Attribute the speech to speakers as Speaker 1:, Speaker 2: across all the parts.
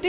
Speaker 1: Det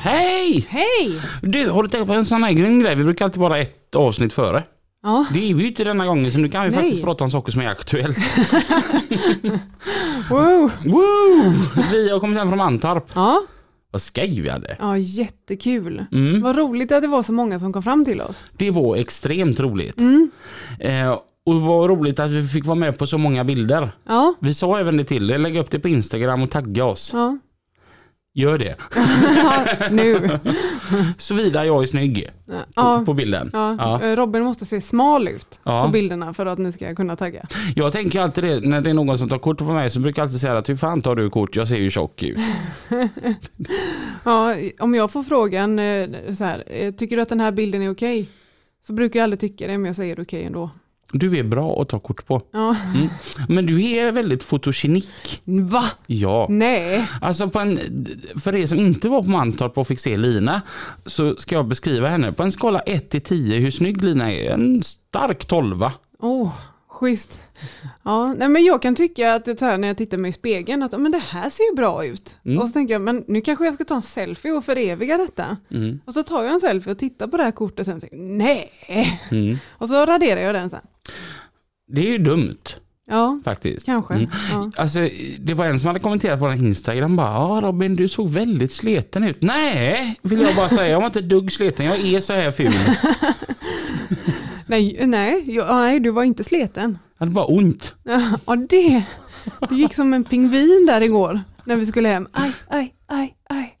Speaker 2: Hej!
Speaker 1: Hej!
Speaker 2: Du, har du tänkt på en sån här grym grej? Vi brukar alltid vara ett avsnitt före.
Speaker 1: Ja,
Speaker 2: Det är vi ju inte denna gången så nu kan vi
Speaker 1: Nej.
Speaker 2: faktiskt prata om saker som är aktuellt.
Speaker 1: wow!
Speaker 2: Woo! Vi har kommit hem från Mantorp.
Speaker 1: Ja,
Speaker 2: Vad skoj vi hade.
Speaker 1: ja jättekul.
Speaker 2: Mm.
Speaker 1: Vad roligt att det var så många som kom fram till oss.
Speaker 2: Det var extremt roligt.
Speaker 1: Mm.
Speaker 2: Eh, och det var roligt att vi fick vara med på så många bilder.
Speaker 1: Ja,
Speaker 2: Vi sa även det till er, lägg upp det på Instagram och tagga oss.
Speaker 1: ja.
Speaker 2: Gör det.
Speaker 1: nu.
Speaker 2: Såvida jag är snygg på,
Speaker 1: Ja,
Speaker 2: på bilden.
Speaker 1: ja.
Speaker 2: Ja.
Speaker 1: Eh, Robin måste se smal ut på
Speaker 2: Ja.
Speaker 1: bilderna för att ni ska kunna tagga.
Speaker 2: Jag tänker alltid det, när det är någon som tar kort på mig så brukar jag alltid säga att hur fan tar du kort? Jag ser ju tjock ut.
Speaker 1: Ja, om jag får frågan eh, så här, eh, tycker du att den här bilden är okej? Så brukar jag aldrig tycka det, men jag säger okej ändå.
Speaker 2: Du är bra att ta kort på.
Speaker 1: Ja.
Speaker 2: Mm. Men du är väldigt fotogenik.
Speaker 1: Va?
Speaker 2: Ja.
Speaker 1: Nej.
Speaker 2: Alltså på en, för er som inte var på Mantorp och fick se Lina så ska jag beskriva henne. På en skala 1 till 10 hur snygg Lina är. En stark 12.
Speaker 1: Åh, Oh, schysst. Ja, nej, men jag kan tycka att det så här, när jag tittar mig i spegeln att men det här ser ju bra ut.
Speaker 2: Mm.
Speaker 1: Och så tänker jag men nu kanske jag ska ta en selfie och föreviga detta.
Speaker 2: Mm.
Speaker 1: Och så tar jag en selfie och tittar på det här kortet och sen säger jag, nej.
Speaker 2: Mm.
Speaker 1: Och så raderar jag den sen.
Speaker 2: Det är ju dumt
Speaker 1: Ja,
Speaker 2: faktiskt.
Speaker 1: kanske.
Speaker 2: Mm.
Speaker 1: Ja.
Speaker 2: Alltså, det var en som hade kommenterat på vår Instagram bara ja Robin du såg väldigt sleten ut. Nej, vill jag bara säga. Jag var inte ett dugg sleten. Jag är så här ful.
Speaker 1: Nej, nej, jag, nej, du var inte sleten.
Speaker 2: Jag hade bara ont.
Speaker 1: Ja, det. Du gick som en pingvin där igår när vi skulle hem. Aj, aj, aj, aj.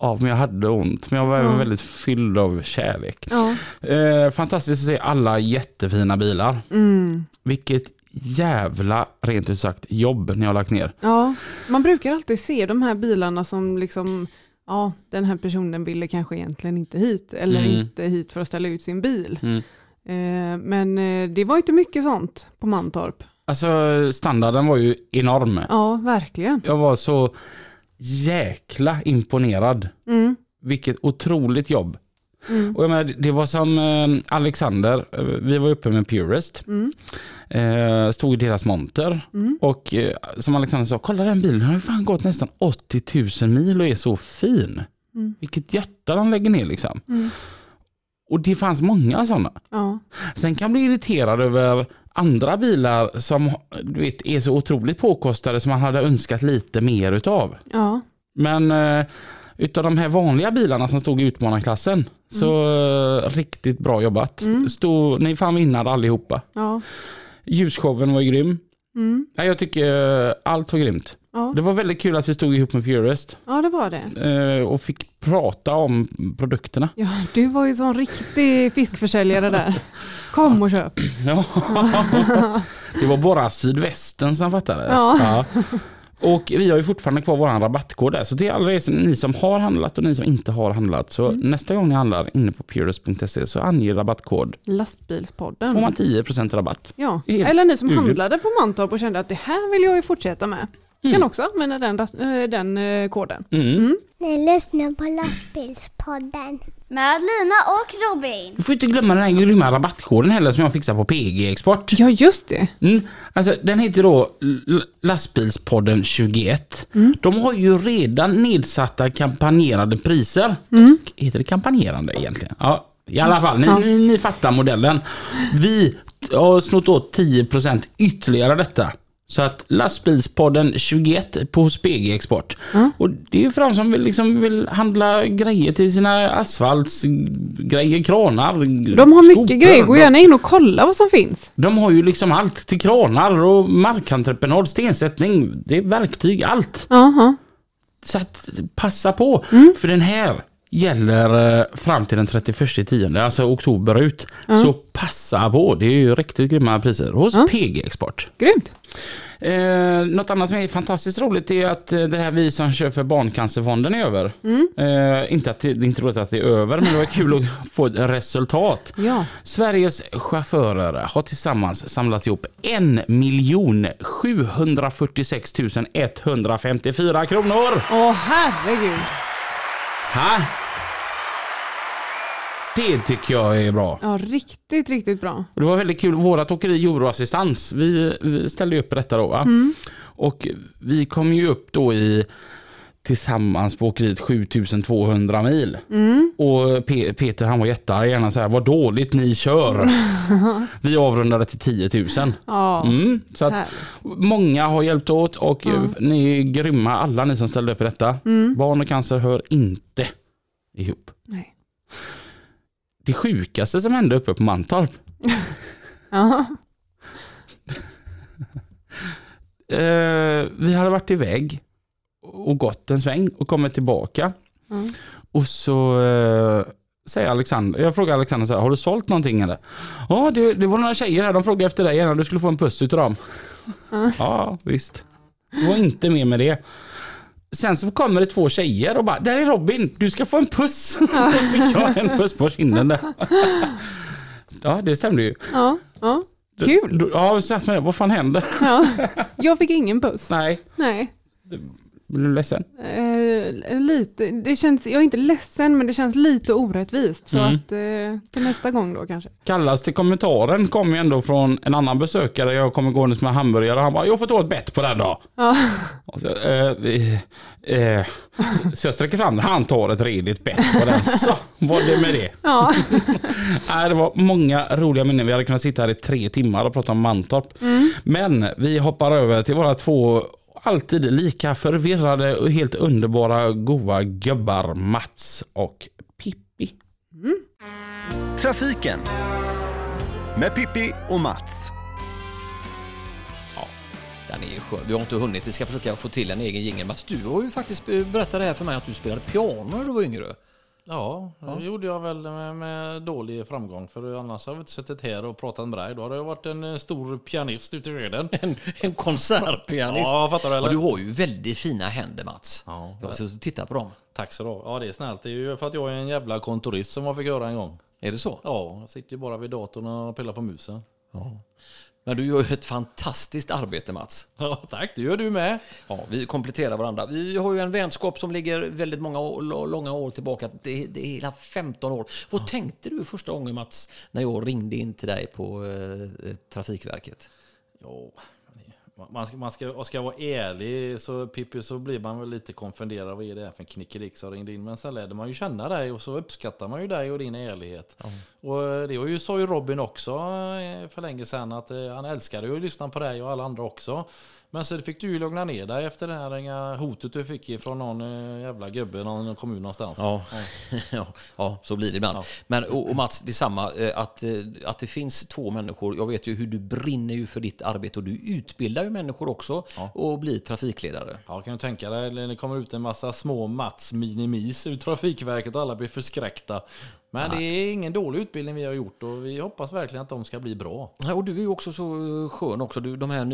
Speaker 2: Ja, men jag hade ont. Men jag var även
Speaker 1: Ja.
Speaker 2: väldigt fylld av kärlek.
Speaker 1: Ja.
Speaker 2: Eh, fantastiskt att se alla jättefina bilar.
Speaker 1: Mm.
Speaker 2: Vilket jävla, rent ut sagt, jobb ni har lagt ner.
Speaker 1: Ja, man brukar alltid se de här bilarna som liksom, ja, den här personen ville kanske egentligen inte hit eller
Speaker 2: Mm.
Speaker 1: inte hit för att ställa ut sin bil.
Speaker 2: Mm.
Speaker 1: Eh, men eh, det var inte mycket sånt på Mantorp.
Speaker 2: Alltså standarden var ju enorm.
Speaker 1: Ja, verkligen.
Speaker 2: Jag var så jäkla imponerad.
Speaker 1: Mm.
Speaker 2: Vilket otroligt jobb.
Speaker 1: Mm.
Speaker 2: Och jag menar, det var som eh, Alexander, eh, vi var uppe med Purist,
Speaker 1: Mm.
Speaker 2: eh, stod i deras monter
Speaker 1: Mm.
Speaker 2: och eh, som Alexander sa, kolla den bilen, den har ju fan gått nästan 80 000 mil och är så fin.
Speaker 1: Mm.
Speaker 2: Vilket hjärta de lägger ner liksom.
Speaker 1: Mm.
Speaker 2: Och det fanns många sådana.
Speaker 1: Ja.
Speaker 2: Sen kan jag bli irriterad över andra bilar som du vet, är så otroligt påkostade som man hade önskat lite mer utav.
Speaker 1: Ja.
Speaker 2: Men eh, utav de här vanliga bilarna som stod i utmanarklassen så eh, riktigt bra jobbat.
Speaker 1: Mm.
Speaker 2: Stod, ni är fan vinnare allihopa.
Speaker 1: Ja.
Speaker 2: Ljusshowen var ju grym.
Speaker 1: Mm.
Speaker 2: Nej, jag tycker eh, allt var grymt.
Speaker 1: Ja.
Speaker 2: Det var väldigt kul att vi stod ihop med Purest
Speaker 1: ja, det var det.
Speaker 2: eh, och fick prata om produkterna.
Speaker 1: Ja, du var ju sån riktig fiskförsäljare där. Kom och köp.
Speaker 2: Ja. Det var bara sydvästen som fattades.
Speaker 1: Ja.
Speaker 2: Och vi har ju fortfarande kvar vår rabattkod där. Så till alla er som, ni som har handlat och ni som inte har handlat. Så nästa gång ni handlar inne på purus.se så ange rabattkod. Får man
Speaker 1: Lastbilspodden.
Speaker 2: 10% rabatt.
Speaker 1: Ja. Mhm.
Speaker 2: Helt
Speaker 1: Eller ni som
Speaker 2: urgrymt.
Speaker 1: handlade på Mantorp och kände att det här vill jag ju fortsätta med. Kan också använda den, ras- eh, den eh, koden.
Speaker 2: Mm.
Speaker 3: Ni lyssnar på lastbilspodden.
Speaker 4: Med Lina och Robin.
Speaker 2: Du får inte glömma den här grymma rabattkoden heller som jag fixar på PG Export.
Speaker 1: Ja just det.
Speaker 2: Mm. Alltså, den heter då L- Lastbilspodden 21.
Speaker 1: Mm.
Speaker 2: De har ju redan nedsatta kampanjerande priser.
Speaker 1: Mm.
Speaker 2: Heter det kampanjerande egentligen? Ja, i alla fall. Ni, ni, ni fattar modellen. Vi t- har snott åt 10% ytterligare detta. Så att lastbilspodden 21 på hos PG Export. Och det är ju för de som vill, liksom, vill handla grejer till sina asfaltsgrejer, kranar,
Speaker 1: De har mycket
Speaker 2: skopor.
Speaker 1: grejer, gå
Speaker 2: De-
Speaker 1: gärna in och kolla vad som finns.
Speaker 2: de har ju liksom allt till kranar och markentreprenad, stensättning, det är verktyg, allt.
Speaker 1: Aha.
Speaker 2: Så att passa på, för den här gäller eh, fram till den 31 tionde, alltså oktober ut. Så passa på, det är ju riktigt grymma priser hos PG Export.
Speaker 1: Grymt.
Speaker 2: Eh, något annat som är fantastiskt roligt är att eh, det här vi som kör för Barncancerfonden är över. Eh, inte att det, det är inte roligt att det är över, men det var kul att få ett resultat.
Speaker 1: Ja.
Speaker 2: Sveriges chaufförer har tillsammans samlat ihop 1 746 154 kronor.
Speaker 1: Åh herregud.
Speaker 2: Ha? Det tycker jag är bra.
Speaker 1: Ja, riktigt, riktigt bra.
Speaker 2: Och Det var väldigt kul. Vårat åkeri Euroassistans, vi, vi ställde ju upp detta då. Va? Och vi kom ju upp då i tillsammans på åkeriet 7200 mil. Och Pe- Peter han var jättearg gärna så här, vad dåligt ni kör. vi avrundade till 10 000.
Speaker 1: Ja,
Speaker 2: Mm, så att
Speaker 1: Härligt.
Speaker 2: många har hjälpt åt och eh, ni är grymma alla ni som ställde upp i detta. Barn och cancer hör inte ihop.
Speaker 1: nej.
Speaker 2: Det sjukaste som hände uppe på Mantorp
Speaker 1: Ja.
Speaker 2: eh, vi hade varit iväg och gått en sväng och kommit tillbaka.
Speaker 1: Mm.
Speaker 2: Och så eh, säger Alexander, jag frågar Alexander så här, har du sålt någonting eller? Ja, det, det var några tjejer här, de frågade efter dig innan du skulle få en puss utav dem. Ja, visst. Det var inte mer med det. Sen så kommer det två tjejer och bara, där är Robin, du ska få en puss. Då fick jag en puss på kinden där. Ja, det stämde ju.
Speaker 1: ja, ja. Kul.
Speaker 2: Ja, så satt man där, vad fan hände?
Speaker 1: Ja. Jag fick ingen puss.
Speaker 2: Nej,
Speaker 1: Nej.
Speaker 2: blev du ledsen?
Speaker 1: Eh, lite, det känns, jag är inte ledsen men det känns lite orättvist. Så att, eh, till nästa gång då kanske.
Speaker 2: Kallas till kommentaren kom ju ändå från en annan besökare. Jag kommer gåendes med hamburgare och han bara, jag får ta ett bett på den då.
Speaker 1: Ja.
Speaker 2: Och så, eh, vi- eh, så- så jag sträcker fram den. Han tar ett redigt bett på den. Så var det med det.
Speaker 1: Ja.
Speaker 2: Nej, det var många roliga minnen. Vi hade kunnat sitta här i tre timmar och prata om Mantorp. Men vi hoppar över till våra två alltid lika förvirrade och helt underbara goa gubbar Mats och Pippi.
Speaker 5: Trafiken med Pippi och Mats.
Speaker 6: Den är ju skön. Vi har inte hunnit. Vi ska försöka få till en egen jingel. Mats, du har ju faktiskt eh, berättat det här för mig att du spelade piano när du var yngre.
Speaker 7: Ja, det gjorde jag väl med, med dålig framgång för annars har vi inte suttit här och pratat med dig. Då hade jag varit en eh, stor pianist ute i världen.
Speaker 6: En, en konsertpianist.
Speaker 7: Ja, fattar du, eller?
Speaker 6: Och du har ju väldigt fina händer Mats. Ja, jag har suttit och tittat på dem.
Speaker 7: Tack så du ha. Ja, det är snällt. Det är ju för att jag är en jävla kontorist som man fick höra en gång.
Speaker 6: Är det så?
Speaker 7: Ja, jag sitter ju bara vid datorn och pillar på musen.
Speaker 6: Men du gör ju ett fantastiskt arbete Mats.
Speaker 7: Ja, tack. Det gör du med.
Speaker 6: Ja, vi kompletterar varandra. Vi har ju en vänskap som ligger väldigt många år, lo- långa år tillbaka. Det, det är hela 15 år. Vad tänkte du första gången Mats, när jag ringde in till dig på eh, Trafikverket?
Speaker 7: Ja, man ska, man ska, och ska jag vara ärlig så Pippi så blir man väl lite konfunderad. Vad är det här för en knickelik som ringde in? Men sen lärde man ju känna dig och så uppskattar man ju dig och din ärlighet. Och eh, det var ju, sa ju Robin också eh, för länge sedan att eh, han älskade ju att lyssna på dig och alla andra också. Men så fick du ju lugna ner dig efter det här eh, hotet du fick från någon eh, jävla gubbe, någon kommun någonstans.
Speaker 6: Ja, Alltså. ja, ja så blir det ibland. Men, och, och Mats, det är samma. eh, Att, eh, att det finns två människor. Jag vet ju hur du brinner ju för ditt arbete och du utbildar ju människor också och blir trafikledare.
Speaker 7: Ja, kan du tänka dig när det kommer ut en massa små Mats Minimis ur Trafikverket och alla blir förskräckta. Men det är ingen dålig utbildning vi har gjort och vi hoppas verkligen att de ska bli bra.
Speaker 6: Ja, Och du är ju också så eh, skön också. Du, de här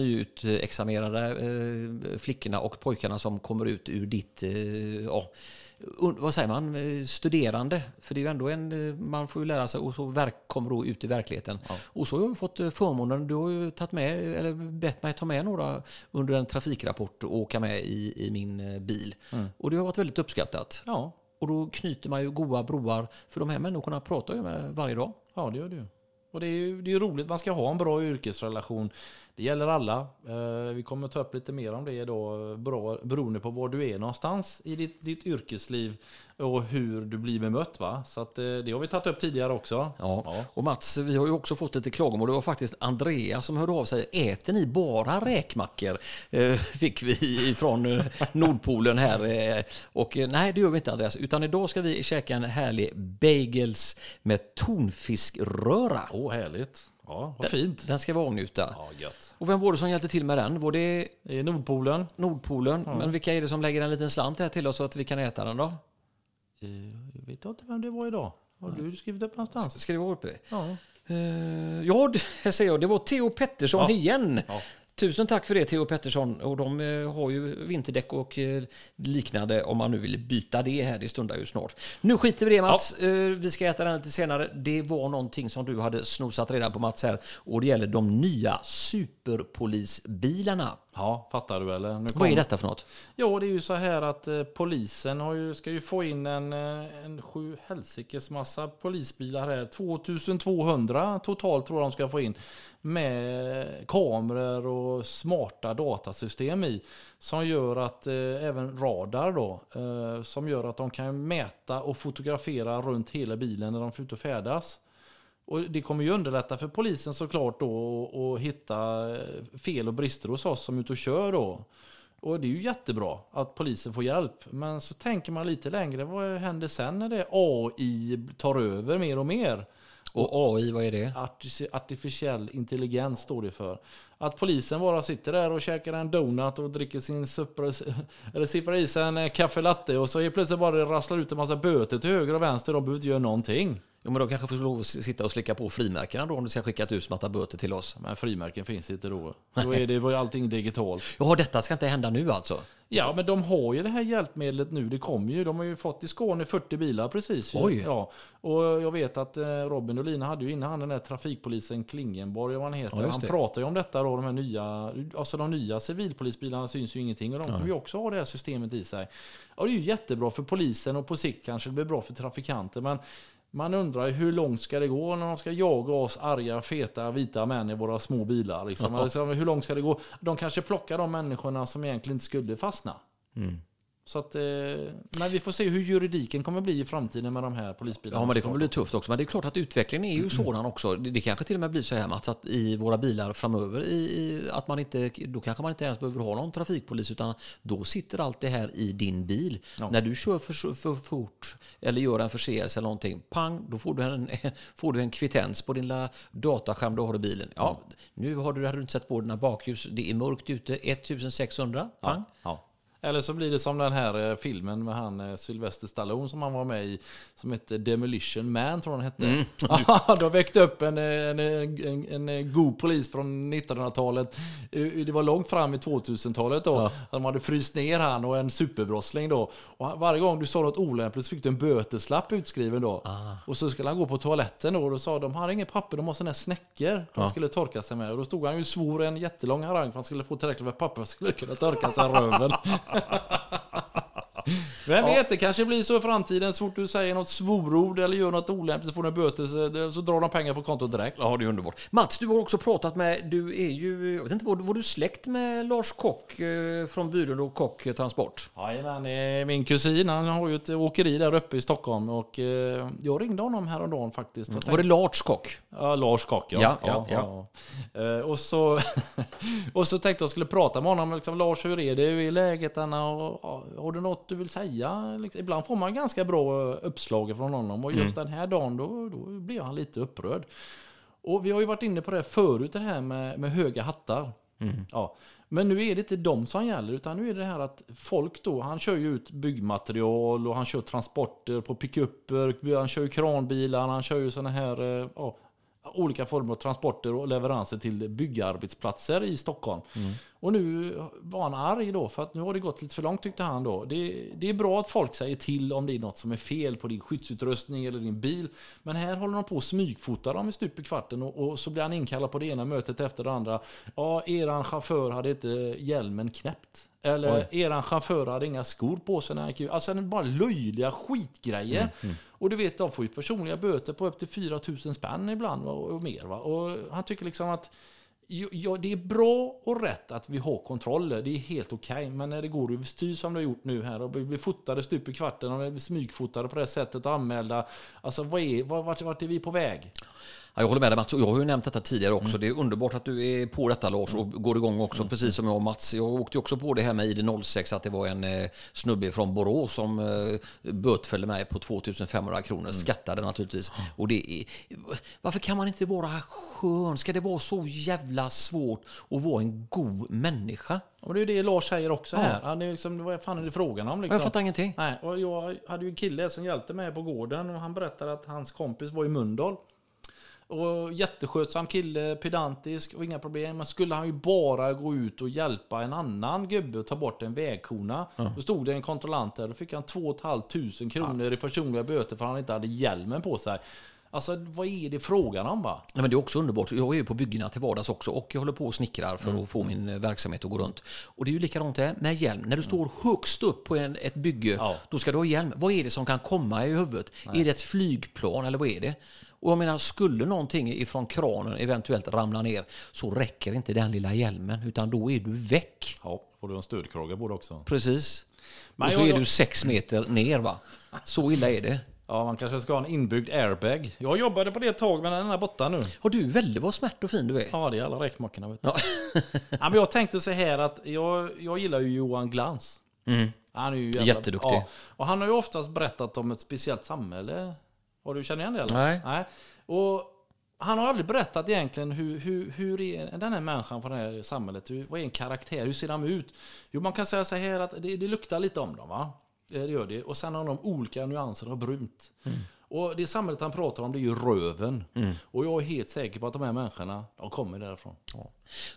Speaker 6: nyutexaminerade eh, flickorna och pojkarna som kommer ut ur ditt, eh, ja, un- vad säger man, Eh, studerande. För det är ju ändå en, eh, man får ju lära sig och så verk, kommer då ut i verkligheten. Och så har jag ju fått eh, förmånen, du har ju tagit med, eller bett mig ta med några under en trafikrapport och åka med i, i min eh, bil. Och det har varit väldigt uppskattat.
Speaker 7: Ja,
Speaker 6: Och då knyter man ju goda broar, för de här människorna pratar jag med varje dag.
Speaker 7: ja det gör du. Och det är ju det är ju roligt, man ska ha en bra yrkesrelation. Det gäller alla. Eh, Vi kommer ta upp lite mer om det då, bra- beroende på var du är någonstans i ditt, ditt yrkesliv och hur du blir bemött. Va? Så att, eh, det har vi tagit upp tidigare också.
Speaker 6: Ja. och Mats, vi har ju också fått lite klagomål. Det var faktiskt Andrea som hörde av sig. Äter ni bara räkmackor? Eh, Fick vi från Nordpolen här. eh, Och eh, nej, det gör vi inte Andreas. Utan idag ska vi käka en härlig bagels med tonfiskröra.
Speaker 7: Åh, härligt. Ja, vad fint.
Speaker 6: Den ska vi avnjuta.
Speaker 7: Ja, gött.
Speaker 6: Och vem var det som hjälpte till med den? Var det
Speaker 7: Det är Nordpolen.
Speaker 6: Nordpolen? Men vilka är det som lägger en liten slant här till oss så att vi kan äta den då?
Speaker 7: Jag vet inte vem det var idag. Har du skrivit upp någonstans?
Speaker 6: Ska det vara uppe?
Speaker 7: Ja.
Speaker 6: Eh, ja, det- här ser jag. Det var Theo Pettersson igen. Tusen tack för det Theo Pettersson. Och de eh, har ju vinterdäck och eh, liknande om man nu vill byta det här. Det stundar ju snart. Nu skiter vi i det Mats. Eh, Vi ska äta den lite senare. Det var någonting som du hade snosat redan på Mats här. Och det gäller de nya superpolisbilarna.
Speaker 7: Ja, fattar du eller? Nu
Speaker 6: Vad är
Speaker 7: kommer-
Speaker 6: detta för något?
Speaker 7: Jo, det är ju så här att eh, polisen har ju, ska ju få in en, eh, en sju helsikes massa polisbilar här. 2200 totalt tror jag de ska få in. Med kameror och smarta datasystem i. Som gör att, eh, även radar då, eh, som gör att de kan mäta och fotografera runt hela bilen när de får ut och färdas. Och det kommer ju underlätta för polisen såklart då att- att hitta eh, fel och brister hos oss som är ute och kör då. Och det är ju jättebra att polisen får hjälp. Men så tänker man lite längre, vad händer sen när det AI tar över mer och mer?
Speaker 6: Och AI, vad är det?
Speaker 7: Artici- Artificiell intelligens står det för. Att polisen bara sitter där och käkar en donut och dricker sin supra, eller sippar i sig en eh, kaffe latte och så helt plötsligt bara rasslar ut en massa böter till höger och vänster. De behöver inte göra någonting.
Speaker 6: Jo, men de kanske får lov att s- sitta och slicka på frimärkena då om du ska skicka ett usmatta böter till oss.
Speaker 7: Men frimärken finns inte då. Då är det var ju allting digitalt.
Speaker 6: Ja, detta ska inte hända nu alltså.
Speaker 7: Ja, men de har ju det här hjälpmedlet nu. Det kommer ju. De har ju fått i Skåne 40 bilar precis. ju.
Speaker 6: Oj.
Speaker 7: Ja, och jag vet att eh, Robin och Lina hade ju innan han den här trafikpolisen Klingenborg, vad han heter.
Speaker 6: Ja, just
Speaker 7: han
Speaker 6: det.
Speaker 7: pratar ju om detta då, de här nya, alltså de nya civilpolisbilarna syns ju ingenting och de kommer ju också ha det här systemet i sig. Och det är ju jättebra för polisen och på sikt kanske det blir bra för trafikanter, men man undrar ju hur långt ska det gå när de ska jaga oss arga, feta, vita män i våra små bilar? Liksom. Alltså, hur långt ska det gå? De kanske plockar de människorna som egentligen inte skulle fastna.
Speaker 6: Mm.
Speaker 7: Så att, eh, men vi får se hur juridiken kommer bli i framtiden med de här polisbilarna.
Speaker 6: Ja, men det kommer bli tufft också. Men det är klart att utvecklingen är ju sådan också. Det det kanske till och med blir så här Mats, att i våra bilar framöver, i, i- att man inte, då kanske man inte ens behöver ha någon trafikpolis, utan då sitter allt det här i din bil. När du kör för, för fort eller gör en förseelse eller någonting, pang, då får du en, får du en kvittens på din lilla dataskärm du har i bilen. Ja, nu har du, hade du inte sett på dina bakljus, det är mörkt ute, 1600, pang.
Speaker 7: Ja. Eller så blir det som den här eh, filmen med han eh, Sylvester Stallone som han var med i, som hette Demolition Man tror jag den hette. De väckte upp en, eh, en, en, en, en eh, god polis från 1900-talet. Eh, Det var långt fram i 2000-talet då. De hade fryst ner han och en superbrottsling då. Och han- varje gång du sa något olämpligt så fick du en böteslapp utskriven då. Och så skulle han gå på toaletten då och då sa de, har inget papper, de har sådana här snäckor de skulle torka sig med. Och då stod han ju och svor en jättelång harang för han skulle få tillräckligt med papper för att skulle kunna torka sig i röven. Vem vet, det kanske blir så i framtiden. Så fort du säger något svorord eller gör något olämpligt så får du en böter så, så drar de pengar på kontot direkt.
Speaker 6: Ja, det är underbart. Mats, du har också pratat med, du är ju, jag vet inte, var, du- var du släkt med Lars Kock eh, från Bylund och Kock Transport?
Speaker 7: Jajamän, eh, min kusin han har ju ett åkeri där uppe i Stockholm och eh, jag ringde honom häromdagen faktiskt. och
Speaker 6: Mm. Var det Lars Kock?
Speaker 7: Ja, Lars Kock, ja.
Speaker 6: Ja, ja, ja.
Speaker 7: Eh, och, så, och så tänkte jag skulle prata med honom. Liksom, Lars, hur är det? Hur är läget? Anna? Och, ja, har du något du vill säga? Liksom, ibland får man ganska bra uppslag från honom. Och
Speaker 6: Mm.
Speaker 7: just den här dagen, då, då blev han lite upprörd. Och vi har ju varit inne på det här förut, det här med, med höga hattar. Ja. Men nu är det inte de som gäller, utan nu är det det här att folk då, han kör ju ut byggmaterial och han kör transporter på pickuper, han kör ju kranbilar, han kör ju sådana här eh, ja, olika former av transporter och leveranser till byggarbetsplatser i Stockholm. Och nu var han arg då, för att nu har det gått lite för långt tyckte han då. Det, det är bra att folk säger till om det är något som är fel på din skyddsutrustning eller din bil. Men här håller de på och smygfotar dem i stup i kvarten och, och så blir han inkallad på det ena mötet efter det andra. Ja, eran chaufför hade inte hjälmen knäppt. Eller eran chaufför hade inga skor på sig när han gick ut. Alltså det är bara löjliga skitgrejer. Och du vet, de får ju personliga böter på upp till 4 000 spänn ibland va, och mer. Va? Och han tycker liksom att Jo, Ja, det är bra och rätt att vi har kontroller. Det är helt okej. Men när det går överstyr som det har gjort nu här och vi blir fotade stup i kvarten och vi blir smygfotade på det här sättet och anmälda. Alltså vad är, vad- vart, vart är vi på väg?
Speaker 6: Ja, jag håller med dig Mats och jag har ju nämnt detta tidigare också. Det är underbart att du är på detta Lars och går igång också, precis som jag och Mats. Jag åkte ju också på det här med ID06 att det var en eh, snubbe från Borås som eh, bötfällde mig på 2500 kronor, skattade naturligtvis. Och det är, varför kan man inte vara skön? Ska det vara så jävla svårt att vara en god människa?
Speaker 7: Och det är ju det Lars säger också här. Han är liksom, vad fan är det frågan om? Liksom?
Speaker 6: Jag fattar ingenting.
Speaker 7: Nej, och jag hade ju en kille som hjälpte mig på gården och han berättade att hans kompis var i Mölndal. Och jätteskötsam kille, pedantisk och inga problem. Men skulle han ju bara gå ut och hjälpa en annan gubbe att ta bort en vägkona. Då stod det en kontrollant där. Då fick han 2 500 kronor i personliga böter för att han inte hade hjälmen på sig. Alltså vad är det frågan om va?
Speaker 6: Ja, men det är också underbart. Jag är ju på byggena till vardags också och jag håller på och snickrar för
Speaker 7: Mm.
Speaker 6: att få min eh, verksamhet att gå runt. Och det är ju likadant det med hjälm. När du står högst upp på en, ett bygge,
Speaker 7: Mm. Ja.
Speaker 6: då ska du ha hjälm. Vad är det som kan komma i huvudet? Är det ett flygplan eller vad är det? Och jag menar, skulle någonting ifrån kranen eventuellt ramla ner så räcker inte den lilla hjälmen utan då är du väck.
Speaker 7: Ja, får du en stödkrage på det också.
Speaker 6: Precis.
Speaker 7: Men
Speaker 6: och så
Speaker 7: jag-
Speaker 6: är du sex meter ner va? Så illa är det.
Speaker 7: Ja, man kanske ska ha en inbyggd airbag. Jag jobbade på det ett tag, men den är borta nu.
Speaker 6: Har du väldigt vad smärt och fin du är.
Speaker 7: Ja, det är alla räkmackorna. Vet du.
Speaker 6: Ja.
Speaker 7: Ja, men jag tänkte så här att jag, jag gillar ju Johan Glans. Han är ju jävla,
Speaker 6: Mm. Jätteduktig.
Speaker 7: Ja, och han har ju oftast berättat om ett speciellt samhälle. Har du känner igen det eller?
Speaker 6: Nej.
Speaker 7: Och han har aldrig berättat egentligen hur, hur, hur är den här människan från det här samhället? Hur, vad är en karaktär? Hur ser de ut? Jo, man kan säga så här att det, det luktar lite om dem. va? Eh, Det gör det. Och sen har de olika nyanser av brunt.
Speaker 6: Mm.
Speaker 7: Och det samhället han pratar om det är ju röven. Och jag är helt säker på att de här människorna, de kommer därifrån.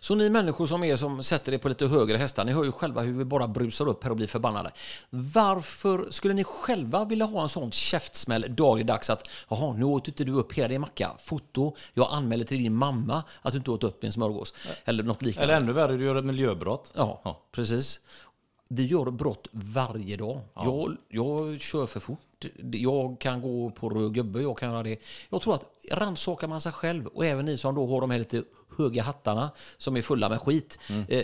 Speaker 6: Så ni människor som är som sätter er på lite högre hästar, ni hör ju själva hur vi bara brusar upp här och blir förbannade. Varför skulle ni själva vilja ha en sån käftsmäll dagligdags att jaha, nu åt inte du upp hela din macka, foto, jag anmäler till din mamma att du inte åt upp min smörgås eller något liknande.
Speaker 7: Eller ännu värre, du gör ett miljöbrott.
Speaker 6: Ja, precis. Vi gör brott varje dag. Jag, jag kör för fort. Jag kan gå på röd gubbe. Jag kan göra det. Jag tror att rannsakar man sig själv och även ni som då har de här lite höga hattarna som är fulla med skit. Eh,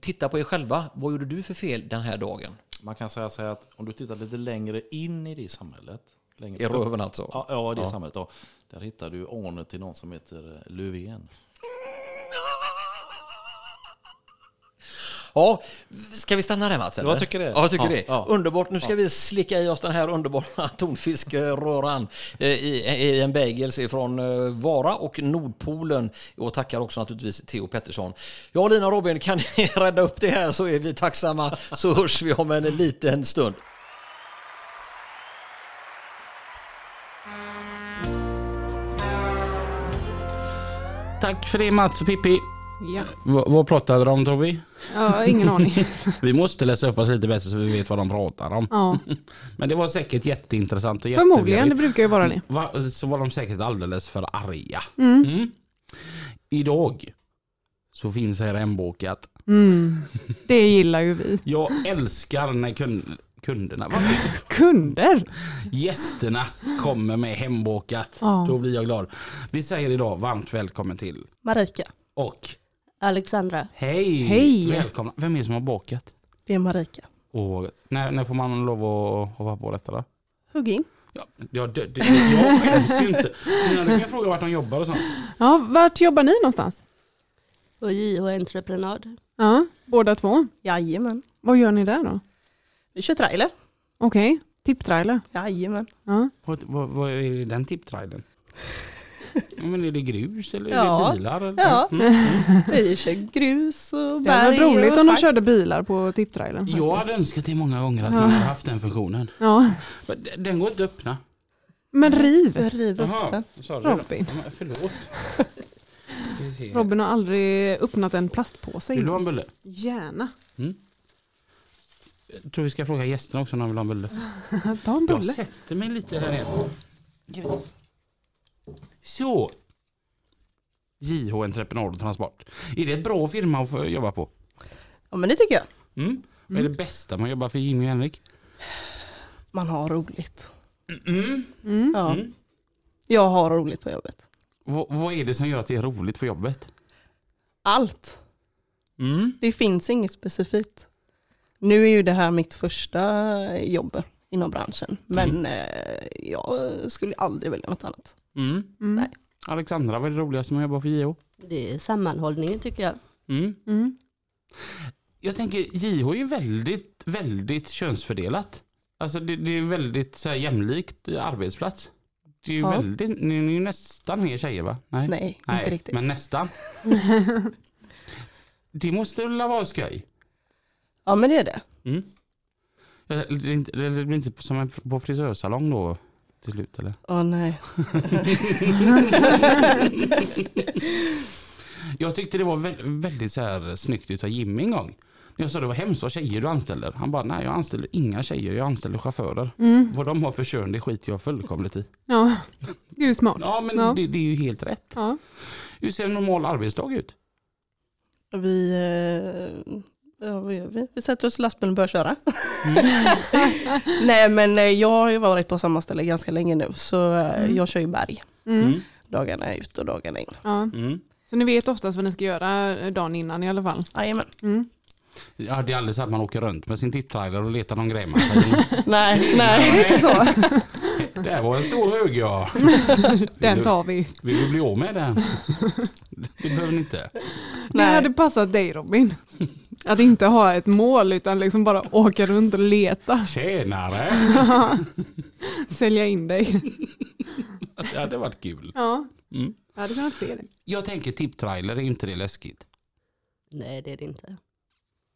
Speaker 6: titta på er själva. Vad gjorde du för fel den här dagen?
Speaker 7: Man kan säga så här att om du tittar lite längre in i det samhället. Längre
Speaker 6: I röven alltså.
Speaker 7: Ja, ja det samhället. Ja. Där hittar du anor till någon som heter eh, Löfven.
Speaker 6: Ja, ska vi stanna där Mats? eller?
Speaker 7: Jag tycker det.
Speaker 6: Ja, jag tycker
Speaker 7: Ja,
Speaker 6: det.
Speaker 7: ja.
Speaker 6: Underbart. Nu ska vi slicka i oss den här underbara tonfiskröran eh, i, i en bagels ifrån eh, Vara och Nordpolen. Och tackar också naturligtvis Theo Pettersson. Ja, Lina och Robin, kan ni rädda upp det här så är vi tacksamma. Så hörs vi om en liten stund.
Speaker 2: Tack för det Mats och Pippi.
Speaker 1: Ja,
Speaker 2: V- vad pratade de om tror vi?
Speaker 1: ja ingen aning.
Speaker 2: Vi måste läsa upp oss lite bättre så vi vet vad de pratar om.
Speaker 1: Ja,
Speaker 2: Men det var säkert jätteintressant och
Speaker 1: förmodligen, det
Speaker 2: jättevirrigt.
Speaker 1: brukar ju vara det.
Speaker 2: Va, så var de säkert alldeles för arga. Mm. Idag så finns här hembokat.
Speaker 1: Det gillar ju vi.
Speaker 2: Jag älskar när kund, kunderna, va?
Speaker 1: Kunder!
Speaker 2: gästerna kommer med hembokat.
Speaker 1: Ja.
Speaker 2: Då blir jag glad. Vi säger idag varmt välkommen till
Speaker 8: Marika.
Speaker 2: och
Speaker 8: Alexandra.
Speaker 2: hej!
Speaker 1: Hej.
Speaker 2: Välkomna. Vem är det som har bakat?
Speaker 8: Det är Marika.
Speaker 2: Och, när, när får man lov att hoppa på detta då?
Speaker 8: Hugg in.
Speaker 2: Ja, ja, det, det, jag skäms ju inte. Men Du kan fråga vart de jobbar och sånt.
Speaker 1: Ja, vart jobbar ni någonstans?
Speaker 9: Och JH Entreprenad.
Speaker 1: Ja, båda två.
Speaker 8: Jajamän.
Speaker 1: Vad gör ni där då?
Speaker 8: Vi kör trailer.
Speaker 1: Okej, tipptrailer.
Speaker 8: Jajamän.
Speaker 1: Ja.
Speaker 2: Vad, vad, vad är det i den tipptrailern? Ja, men är det grus eller är
Speaker 8: Ja.
Speaker 2: det bilar? Eller?
Speaker 8: Ja. Vi kör grus och
Speaker 1: Mm. Det hade
Speaker 8: berg.
Speaker 1: varit roligt om de
Speaker 8: fack.
Speaker 1: körde bilar på tipptrailern.
Speaker 2: Jag hade önskat det många gånger att man hade haft den funktionen.
Speaker 1: Ja.
Speaker 2: Men d- Den går inte att öppna.
Speaker 1: Men riv!
Speaker 8: Vi river upp
Speaker 2: Jaha,
Speaker 8: den.
Speaker 2: sorry då.
Speaker 1: Robin.
Speaker 2: Ja, men förlåt. Ska vi se.
Speaker 1: Robin har aldrig öppnat en plastpåse
Speaker 2: Vill du ha en
Speaker 1: innan.
Speaker 2: bulle?
Speaker 1: Gärna.
Speaker 2: Jag tror vi ska fråga gästerna också om de vill ha en bulle.
Speaker 1: Ta en
Speaker 2: Jag
Speaker 1: bulle.
Speaker 2: sätter mig lite här nere. Så. JH Entreprenad och Transport. Är det en bra firma att få jobba på?
Speaker 8: Ja men det tycker jag.
Speaker 2: Mm. Vad är det bästa med att jobba för Jimmy och Henrik?
Speaker 8: Man har roligt. Mm.
Speaker 1: Mm.
Speaker 8: Ja. Jag har roligt på jobbet.
Speaker 2: V- vad är det som gör att det är roligt på jobbet?
Speaker 8: Allt.
Speaker 2: Mm.
Speaker 8: Det finns inget specifikt. Nu är ju det här mitt första jobb inom branschen. Men eh, jag skulle aldrig välja något annat.
Speaker 2: Mm.
Speaker 1: Mm.
Speaker 2: Alexandra, vad är det roligaste med att jobba för JH?
Speaker 9: Det är sammanhållningen tycker jag.
Speaker 2: Mm.
Speaker 1: Mm.
Speaker 2: Jag tänker, JH är ju väldigt, väldigt könsfördelat. Alltså det, det är väldigt så här, jämlikt arbetsplats. Det är ju
Speaker 8: Ja.
Speaker 2: väldigt, ni ni är ju nästan mer tjejer va?
Speaker 8: Nej, inte riktigt.
Speaker 2: men nästan. det måste väl vara skoj?
Speaker 8: Ja men det är det.
Speaker 2: Mm. Eller, Det är inte- det blir inte som en, på frisörsalong då? till slut eller?
Speaker 8: Åh nej.
Speaker 2: Jag tyckte det var vä- väldigt så här snyggt utav Jimmy en gång. När Jag sa det var hemskt vad tjejer du anställer. Han bara nej jag anställer inga tjejer, jag anställer chaufförer.
Speaker 1: Mm.
Speaker 2: Vad de har för kön det skiter jag fullkomligt i.
Speaker 1: Ja, gud smart.
Speaker 2: Ja men
Speaker 1: Ja.
Speaker 2: Det, det är ju helt rätt.
Speaker 1: Ja.
Speaker 2: Hur ser en normal arbetsdag ut?
Speaker 8: Vi, eh, ja, vad gör vi? vi sätter oss i lastbilen och börjar köra.
Speaker 1: Mm.
Speaker 8: nej men eh, jag har ju varit på samma ställe ganska länge nu så eh,
Speaker 1: Mm.
Speaker 8: jag kör ju berg
Speaker 1: Mm.
Speaker 8: dagarna ut och dagarna in.
Speaker 1: Ja.
Speaker 2: Mm.
Speaker 1: Så ni vet oftast vad ni ska göra eh, dagen innan i alla fall.
Speaker 8: Jajamän.
Speaker 1: Mm.
Speaker 2: Ja, det är aldrig så att man åker runt med sin tipptrailer och letar någon grej man kan-
Speaker 8: nej, nej.
Speaker 1: Lite så,
Speaker 2: Det var en stor hög ja.
Speaker 1: den tar vi.
Speaker 2: Vill du bli av med den? Det behöver ni inte.
Speaker 1: Det
Speaker 8: Nej.
Speaker 1: hade passat dig Robin. Att inte ha ett mål utan liksom bara åka runt och leta,
Speaker 2: Tjenare!
Speaker 1: sälja in dig.
Speaker 2: Det hade varit kul.
Speaker 1: Ja,
Speaker 2: Mm.
Speaker 1: jag hade kunnat se det.
Speaker 2: Jag tänker tipptrailer, är inte det läskigt?
Speaker 9: Nej det är det inte.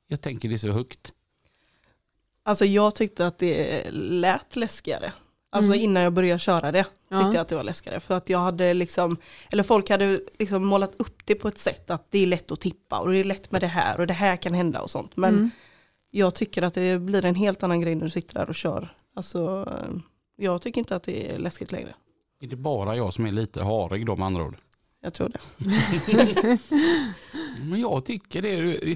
Speaker 2: Jag tänker det är så högt.
Speaker 8: Alltså jag tyckte att det lät läskigare. Alltså
Speaker 1: Mm.
Speaker 8: innan jag började köra det tyckte
Speaker 1: Ja.
Speaker 8: jag att det var läskigare. För att jag hade liksom, eller folk hade liksom målat upp det på ett sätt att det är lätt att tippa och det är lätt med det här och det här kan hända och sånt. Men
Speaker 1: Mm.
Speaker 8: jag tycker att det blir en helt annan grej när du sitter där och kör. Alltså eh, jag tycker inte att det är läskigt längre.
Speaker 2: Är det bara jag som är lite harig då med andra ord?
Speaker 8: Jag tror det.
Speaker 2: Men jag tycker det. är-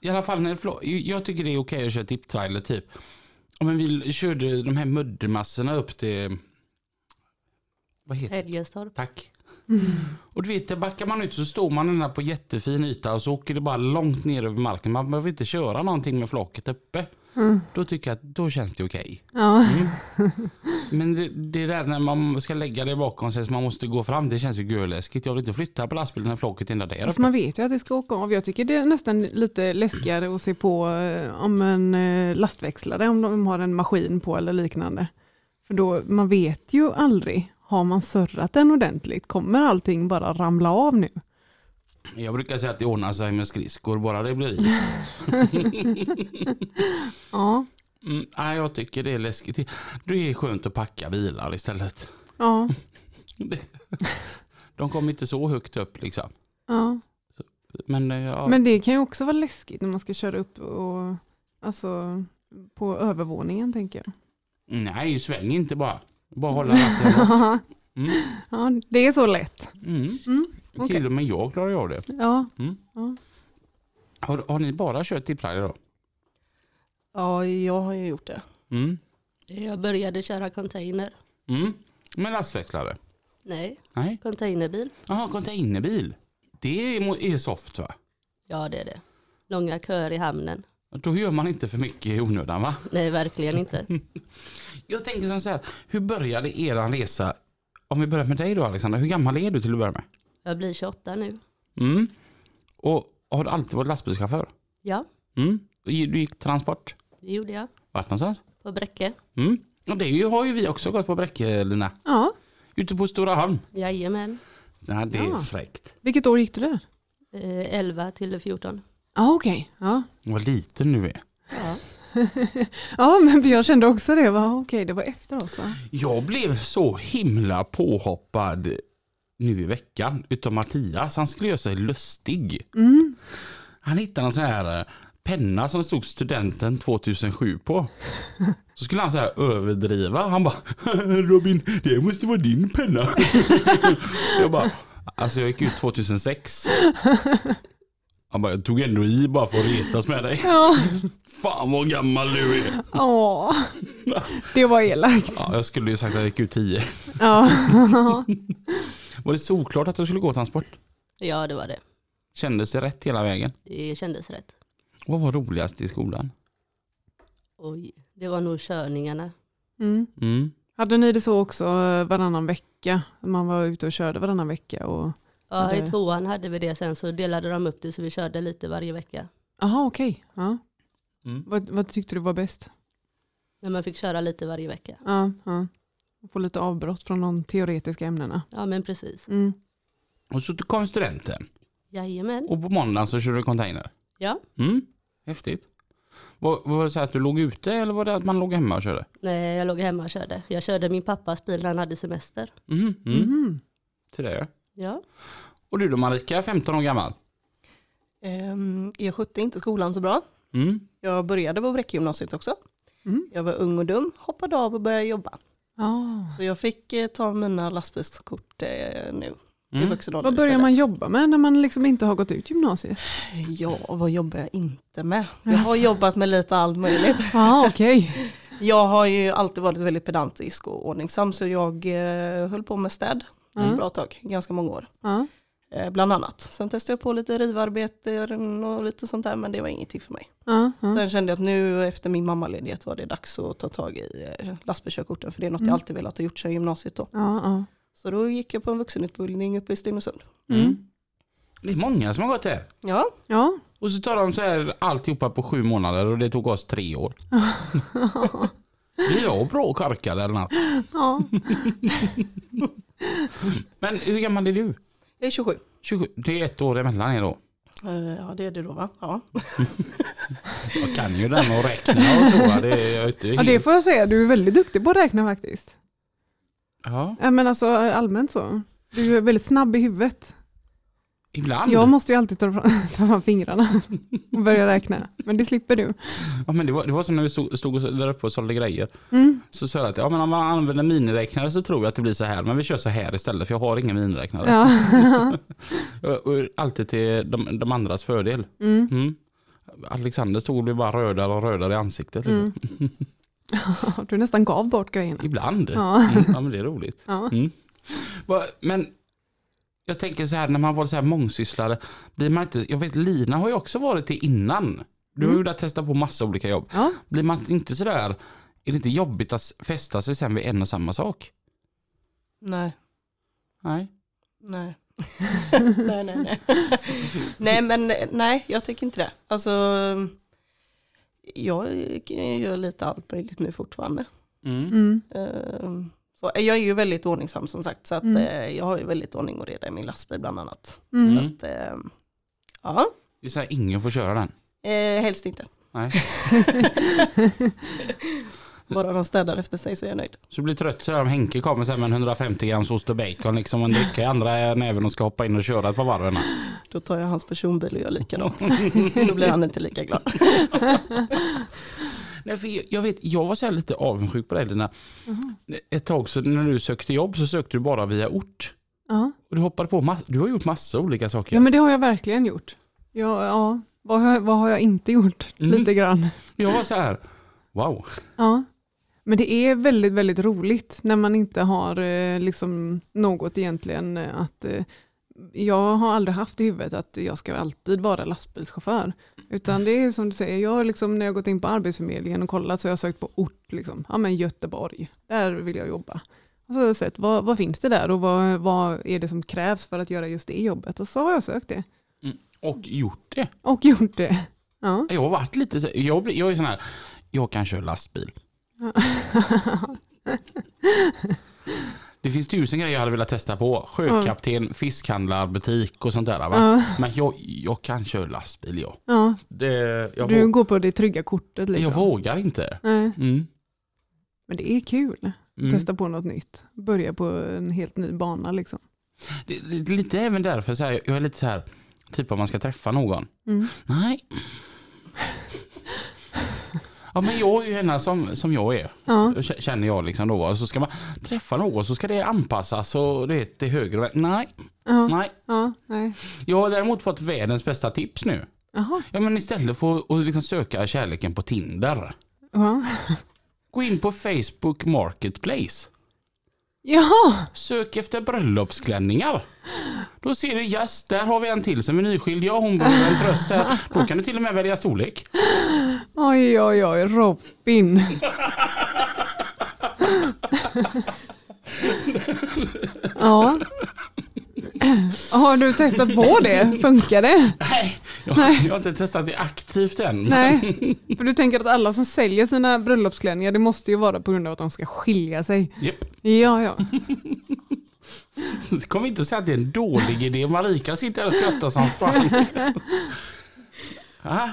Speaker 2: I alla fall när det flå- Jag tycker det är okej att köra tipptrailer typ. Ja, men vi körde de här muddermassorna upp till... Vad heter
Speaker 9: Helgestorp.
Speaker 2: Tack. Och du vet, där backar man ut så står man där på jättefin yta och så åker det bara långt ner över marken. Man behöver inte köra någonting med flaket uppe. Då tycker jag att då känns det okej.
Speaker 1: Ja.
Speaker 2: Men det, det där när man ska lägga det bakom sig så man måste gå fram, det känns ju görläskigt. Jag vill inte flytta på lastbilen när flaket är ända där
Speaker 1: Fast
Speaker 2: uppe.
Speaker 1: Alltså, man vet ju att det ska åka av. Jag tycker det är nästan lite läskigare att se på eh, om en eh, lastväxlare, om de har en maskin på eller liknande. För då, man vet ju aldrig, har man surrat den ordentligt, kommer allting bara ramla av nu?
Speaker 2: Jag brukar säga att det ordnar sig med skridskor, bara det blir is.
Speaker 1: Ja,
Speaker 2: Mm, nej, jag tycker det är läskigt. Det är skönt att packa bilar istället.
Speaker 1: ja,
Speaker 2: De kommer inte så högt upp liksom.
Speaker 1: ja.
Speaker 2: Men, eh, ja.
Speaker 1: Men det kan ju också vara läskigt när man ska köra upp och, alltså, på övervåningen tänker jag.
Speaker 2: Nej, sväng inte bara. Bara hålla ratten. Mm.
Speaker 1: Ja, det är så lätt.
Speaker 2: Mm.
Speaker 1: Mm, okej.
Speaker 2: Till och med jag klarar ju av det.
Speaker 1: Ja,
Speaker 2: Har, har ni bara kört tipptrailer då?
Speaker 8: Ja, jag har ju gjort det.
Speaker 2: Mm.
Speaker 9: Jag började köra container.
Speaker 2: Mm. Med lastväxlare?
Speaker 9: Nej,
Speaker 2: Nej.
Speaker 9: containerbil.
Speaker 2: Jaha, containerbil. Det är, mo- är soft va?
Speaker 9: Ja det är det. Långa köer i hamnen.
Speaker 2: Då gör man inte för mycket i onödan va?
Speaker 9: Nej verkligen inte.
Speaker 2: Jag tänker som så här, hur började eran resa? Om vi börjar med dig då Alexandra, hur gammal är du till att börja med?
Speaker 9: Jag blir 28 nu.
Speaker 2: Mm. Och har du alltid varit lastbilschaufför?
Speaker 9: Ja,
Speaker 2: Mm. Du gick transport?
Speaker 9: det gjorde jag.
Speaker 2: Vart någonstans?
Speaker 9: På Bräcke.
Speaker 2: Mm. Och det är ju- har ju vi också gått på Bräcke Lina.
Speaker 1: ja.
Speaker 2: Ute på Stora Holm.
Speaker 9: Jajamän.
Speaker 2: Nej, det är
Speaker 1: Ja.
Speaker 2: fräckt.
Speaker 1: Vilket år gick du där?
Speaker 9: Eh, 11 till 14.
Speaker 1: Ja, okej. Ja.
Speaker 2: Vad liten nu är.
Speaker 9: Ja.
Speaker 1: ja, men jag kände också det. Va? Okej, det var efter oss va?
Speaker 2: Jag blev så himla påhoppad nu i veckan utav Mattias. Han skulle göra sig lustig.
Speaker 1: Mm.
Speaker 2: Han hittade en sån här eh, penna som stod studenten 2007 på. Så skulle han så här överdriva. Han bara Robin, det måste vara din penna. jag bara, alltså jag gick ut 2006. Han bara, jag tog ändå i bara för att retas med dig.
Speaker 1: Ja.
Speaker 2: Fan vad gammal du är.
Speaker 1: Åh, det var elakt.
Speaker 2: Ja, jag skulle ju sagt att jag gick ut 10.
Speaker 1: Ja.
Speaker 2: Var det solklart att du skulle gå transport?
Speaker 9: ja, det var det.
Speaker 2: Kändes det rätt hela vägen?
Speaker 9: Det kändes rätt.
Speaker 2: Vad var roligast i skolan?
Speaker 9: Oj, det var nog körningarna.
Speaker 1: Mm.
Speaker 2: Mm.
Speaker 1: Hade ni det så också eh, varannan vecka? Man var ute och körde varannan vecka? Och...
Speaker 9: Ja,
Speaker 1: Det-
Speaker 9: i tvåan hade vi det sen så delade de upp det så vi körde lite varje vecka.
Speaker 1: Aha, okej. Ja.
Speaker 2: Mm.
Speaker 1: Vad, vad tyckte du var bäst?
Speaker 9: När man fick köra lite varje vecka.
Speaker 1: Ja, ja. Få lite avbrott från de teoretiska ämnena.
Speaker 9: Ja, men precis.
Speaker 1: Mm.
Speaker 2: Och så kom studenten
Speaker 9: Jajamän.
Speaker 2: och på måndagen så körde du container.
Speaker 9: Ja,
Speaker 2: Mm. Häftigt. Var, var det så att du låg ute eller var det att man låg hemma och körde?
Speaker 9: Nej, jag låg hemma och körde. Jag körde min pappas bil när han hade semester.
Speaker 2: Mhm, Mm. Till det ja.
Speaker 9: Ja.
Speaker 2: Och du då Marika, 15 år gammal.
Speaker 8: Ehm, Jag skötte inte skolan så bra.
Speaker 2: Mm.
Speaker 8: Jag började på Bräckegymnasiet också.
Speaker 1: Mm.
Speaker 8: Jag var ung och dum, hoppade av och började jobba.
Speaker 1: Ah.
Speaker 8: Så jag fick eh, ta mina lastbilskort eh, nu i
Speaker 2: Mm.
Speaker 8: vuxen ålder
Speaker 1: Vad börjar
Speaker 8: istället.
Speaker 1: man jobba med när man liksom inte har gått ut gymnasiet?
Speaker 8: Ja, vad jobbar jag inte med? Jag har
Speaker 1: Alltså.
Speaker 8: jobbat med lite allt möjligt.
Speaker 1: Ja, ah, okej.
Speaker 8: Jag har ju alltid varit väldigt pedantisk och ordningsam så jag eh, höll på med städ
Speaker 1: Mm.
Speaker 8: ett bra tag, ganska många år.
Speaker 1: Ja.
Speaker 8: Eh, bland annat. Sen testade jag på lite rivarbeten och lite sånt där men det var ingenting för mig.
Speaker 1: Ja, ja.
Speaker 8: Sen kände jag att nu efter min mammaledighet var det dags att ta tag i eh, lastbilskörkorten för det är något jag alltid velat ha gjort sedan gymnasiet då.
Speaker 1: Ja,
Speaker 8: Så då gick jag på en vuxenutbildning uppe i Stenungsund.
Speaker 1: ja. Mm.
Speaker 2: Det är många som har gått här.
Speaker 8: Ja,
Speaker 1: Ja.
Speaker 2: Och så tar de så här alltihopa på sju månader och det tog oss tre år. Vi var bra korkade eller något.
Speaker 1: ja.
Speaker 2: Men hur gammal är du?
Speaker 8: jag är 27.
Speaker 2: 27, det är ett år emellan er då.
Speaker 8: Eh, Ja det är det då va? Ja.
Speaker 2: Jag kan ju den och räkna och så. va? Det är, jag är inte
Speaker 1: ja, det
Speaker 2: helt-
Speaker 1: får jag säga. Du är väldigt duktig på att räkna faktiskt.
Speaker 2: ja,
Speaker 1: Ja, men alltså allmänt så. Du är väldigt snabb i huvudet.
Speaker 2: ibland.
Speaker 1: Jag måste ju alltid ta fram, ta fram fingrarna och börja räkna. Men det slipper du.
Speaker 2: Ja, men det, var, det var som när vi stod, stod och så- där uppe och sålde grejer.
Speaker 1: Mm.
Speaker 2: Så sa jag att ja, men om man använder miniräknare så tror jag att det blir så här. Men vi kör så här istället för jag har ingen miniräknare.
Speaker 1: Ja.
Speaker 2: Och, och alltid till de, de andras fördel.
Speaker 1: Mm.
Speaker 2: Mm. Alexander stod och blev bara rödare och rödare i ansiktet. Liksom.
Speaker 1: Mm. Du nästan gav bort grejerna.
Speaker 2: Ibland.
Speaker 1: Ja.
Speaker 2: Mm, ja men det är roligt.
Speaker 1: Ja.
Speaker 2: Mm. Va- Men jag tänker så här när man var så här mångsysslare, blir man inte, jag vet Lina har ju också varit det innan. Du
Speaker 1: Mm.
Speaker 2: har ju där testat på massa olika jobb.
Speaker 1: Ja.
Speaker 2: Blir man inte så där, är det inte jobbigt att fästa sig sen vid en och samma sak?
Speaker 8: Nej,
Speaker 2: Nej.
Speaker 8: nej. nej, nej, nej. nej, men eh, nej, jag tycker inte det. Alltså, jag gör lite allt möjligt nu fortfarande.
Speaker 2: Mm.
Speaker 1: Mm.
Speaker 8: Eh, Så jag är ju väldigt ordningsam som sagt, så att,
Speaker 1: Mm.
Speaker 8: eh, jag har ju väldigt ordning och reda i min lastbil bland annat.
Speaker 1: Mm.
Speaker 2: Mm.
Speaker 8: Att, eh, ja,
Speaker 2: Det är så här, ingen får köra den.
Speaker 8: eh, helst inte.
Speaker 2: Nej.
Speaker 8: Bara de städar efter sig så är jag nöjd.
Speaker 2: Så du blir trött så här om Henke kommer sen med en 150 grams ost och bacon liksom och en dricka i andra näven och ska hoppa in och köra ett par varv. innan.
Speaker 8: Då tar jag hans personbil och gör likadant. Då blir han inte lika glad.
Speaker 2: Nej, för jag, jag, vet, jag var så här lite avundsjuk på dig Lina.
Speaker 1: Mm-hmm.
Speaker 2: Ett tag så när du sökte jobb så sökte du bara via ort.
Speaker 1: Ja.
Speaker 2: Och du hoppade på mass- Du har gjort massa olika saker.
Speaker 1: ja, men det har jag verkligen gjort. Ja, ja. Vad, har, vad har jag inte gjort?
Speaker 2: Mm.
Speaker 1: Lite grann.
Speaker 2: Jag var så här, wow.
Speaker 1: Ja. Men det är väldigt, väldigt roligt när man inte har eh, liksom något egentligen eh, att eh, jag har aldrig haft i huvudet att jag ska alltid vara lastbilschaufför. Utan det är som du säger, jag har liksom, när jag gått in på Arbetsförmedlingen och kollat så har jag sökt på ort, liksom. ja men Göteborg, där vill jag jobba. Och så har jag sett vad, vad finns det där och vad, vad är det som krävs för att göra just det jobbet. Och så har jag sökt det
Speaker 2: Och gjort det.
Speaker 1: och gjort det. Ja.
Speaker 2: Jag har varit lite så jag, blir- jag är sån här, jag kan köra lastbil. Det finns tusen grejer jag hade velat testa på. Sjökapten, fiskhandlarbutik och sånt där. Va?
Speaker 1: Ja.
Speaker 2: Men jag, jag kan köra lastbil jag.
Speaker 1: Ja.
Speaker 2: Det, jag,
Speaker 1: Du
Speaker 2: våg,
Speaker 1: går på det trygga kortet. Liksom.
Speaker 2: jag vågar inte.
Speaker 1: Nej.
Speaker 2: Mm.
Speaker 1: Men det är kul.
Speaker 2: Mm.
Speaker 1: Testa på något nytt. Börja på en helt ny bana liksom.
Speaker 2: Det, det, det är lite även därför, så här, jag är lite så här, typ om man ska träffa någon.
Speaker 1: Mm.
Speaker 2: Nej. Ja men jag är ju henne som, som jag är,
Speaker 1: Ja.
Speaker 2: k- känner jag liksom då. Och Så ska man träffa någon så ska det anpassas och du vet, till höger och vä- Nej,
Speaker 1: Ja.
Speaker 2: nej.
Speaker 1: Ja. Nej.
Speaker 2: Jag har däremot fått världens bästa tips nu.
Speaker 1: Jaha.
Speaker 2: Ja men istället för att- att liksom söka kärleken på Tinder.
Speaker 1: Ja.
Speaker 2: Gå in på Facebook Marketplace.
Speaker 1: Jaha.
Speaker 2: Sök efter bröllopsklänningar. Då ser du, yes, där har vi en till som är nyskild. Ja, hon behöver en tröst här. Då kan du till och med välja storlek.
Speaker 1: Oj oj oj Robin. ja. Har du testat på det? Funkar det?
Speaker 2: Nej, jag, jag har inte testat det aktivt än.
Speaker 1: Nej. För du tänker att alla som säljer sina bröllopsklänningar det måste ju vara på grund av att de ska skilja sig.
Speaker 2: Japp.
Speaker 1: Ja ja.
Speaker 2: Kom inte och säg att det är en dålig idé. Marika sitter här och skrattar som fan. Ah.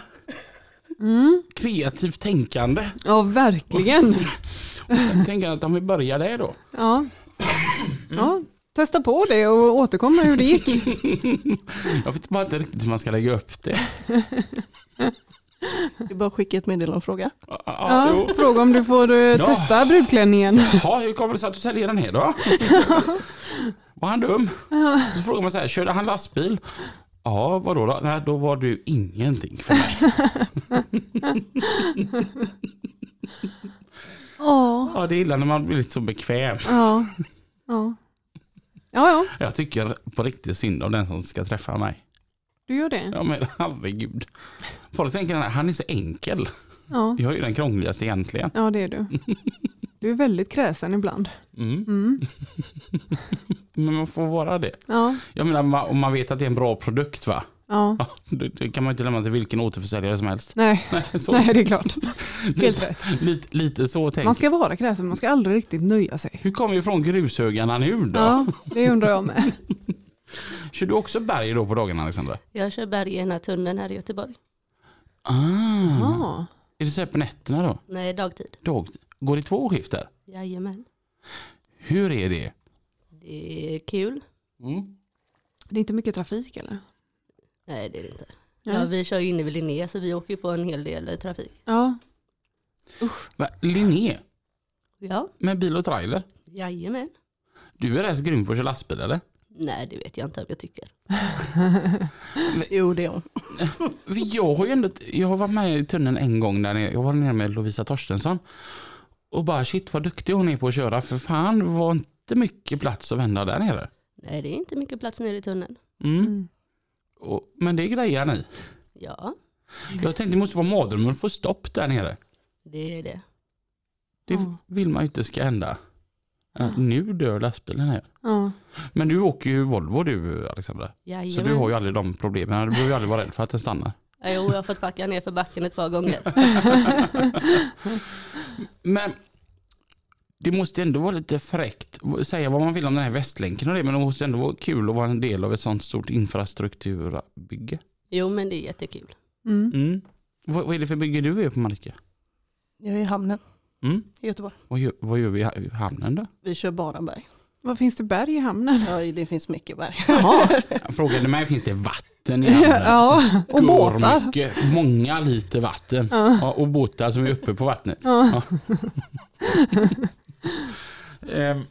Speaker 1: Mm.
Speaker 2: kreativt tänkande.
Speaker 1: Ja, verkligen.
Speaker 2: Oh. Jag tänker att om vi börjar där då.
Speaker 1: Ja. ja, testa på det och återkom med hur det gick.
Speaker 2: Jag vet bara inte riktigt hur man ska lägga upp det.
Speaker 8: Det är bara att skicka ett meddelande och fråga.
Speaker 2: Ja, ja.
Speaker 1: Ja,
Speaker 2: Ah, jo.
Speaker 1: fråga om du får eh,
Speaker 2: Ja.
Speaker 1: testa brudklänningen.
Speaker 2: Jaha, hur kommer det sig att du säljer den här då? Var han dum? Så frågar man så här, körde han lastbil? Ja, vadå då? Nej, då var du ingenting för mig.
Speaker 1: Ja.
Speaker 2: Ja, det är illa när man blir lite så bekväm.
Speaker 1: Ja. Ja. ja, ja,
Speaker 2: Jag tycker på riktigt synd om den som ska träffa mig.
Speaker 1: du gör det.
Speaker 2: Ja, men herregud. Folk tänker att han är så enkel.
Speaker 1: Ja,
Speaker 2: Jag är ju den krångligaste egentligen.
Speaker 1: ja det är du. Du är väldigt kräsen ibland.
Speaker 2: Mm.
Speaker 1: Mm.
Speaker 2: Men man får vara det.
Speaker 1: Ja,
Speaker 2: Jag menar ma- om man vet att det är en bra produkt va?
Speaker 1: ja.
Speaker 2: Ja, det, det kan man inte lämna till vilken återförsäljare som helst.
Speaker 1: Nej,
Speaker 2: Nej, så,
Speaker 1: nej, det är klart. Helt
Speaker 2: lite,
Speaker 1: rätt.
Speaker 2: lite, lite så tänker
Speaker 1: Man ska vara kräsen, man ska aldrig riktigt nöja sig.
Speaker 2: Hur kommer vi från grushögarna nu då?
Speaker 1: Ja, det undrar jag med.
Speaker 2: Kör du också berg då på dagarna Alexandra?
Speaker 9: Jag kör berg i ena tunneln här i Göteborg.
Speaker 2: Ah.
Speaker 1: Ja.
Speaker 2: Är det så här på nätterna då?
Speaker 9: Nej, dagtid.
Speaker 2: Dag, går det två skift där?
Speaker 9: Jajamän.
Speaker 2: Hur är det? Mm.
Speaker 9: Det är kul.
Speaker 1: Det är inte mycket trafik eller?
Speaker 9: Nej, det är det inte.
Speaker 1: Ja.
Speaker 9: Ja, vi kör ju inne vid Linné så vi åker ju på en hel del trafik.
Speaker 1: Ja,
Speaker 2: Va, Linné
Speaker 9: Ja,
Speaker 2: med bil och trailer.
Speaker 9: jajamän.
Speaker 2: Du är rätt grym på att köra lastbil eller?
Speaker 9: Nej, det vet jag inte om jag tycker.
Speaker 8: Jo, det är hon.
Speaker 2: För Jag har ju ändå, jag har varit med i tunneln en gång där nere. jag var nere med Lovisa Torstensson. Och bara shit vad duktig hon är på att köra för fan det var inte mycket plats att vända där nere.
Speaker 9: Nej, det är inte mycket plats nere i tunneln.
Speaker 2: Mm.
Speaker 1: Mm.
Speaker 2: Och, men det grejar ni.
Speaker 9: Ja,
Speaker 2: Jag tänkte det måste vara mardrömmen att få stopp där nere.
Speaker 9: det är det.
Speaker 2: Det
Speaker 1: Ja.
Speaker 2: vill man ju inte ska hända. Äh, Nu dör lastbilen här.
Speaker 1: ja.
Speaker 2: Men du åker ju Volvo du Alexandra.
Speaker 9: Jajamän.
Speaker 2: Så du har ju aldrig de problemen. Du behöver ju aldrig vara rädd för att den stannar.
Speaker 9: Ja, Jo, jag har fått backa ner för backen ett par gånger.
Speaker 2: Men det måste ändå vara lite fräckt. Säga vad man vill om den här Västlänken och det. Men det måste ändå vara kul att vara en del av ett sånt stort infrastrukturbygge.
Speaker 9: Jo, men det är jättekul.
Speaker 1: Mm.
Speaker 2: Mm. Vad, vad är det för bygge du är på Marika?
Speaker 8: Jag är i hamnen
Speaker 2: Mm.
Speaker 8: i Göteborg.
Speaker 2: Vad, gör, vad gör vi i ha- i hamnen då?
Speaker 8: Vi kör bara berg.
Speaker 1: Vad finns det berg i hamnen?
Speaker 8: Ja, det finns mycket berg.
Speaker 2: Han frågade mig, finns det vatten i hamnen?
Speaker 1: Ja, och
Speaker 2: Går
Speaker 1: båtar.
Speaker 2: Mycket, många liter vatten. Ja, och båtar som är uppe på vattnet.
Speaker 1: Ja.
Speaker 2: Ehm,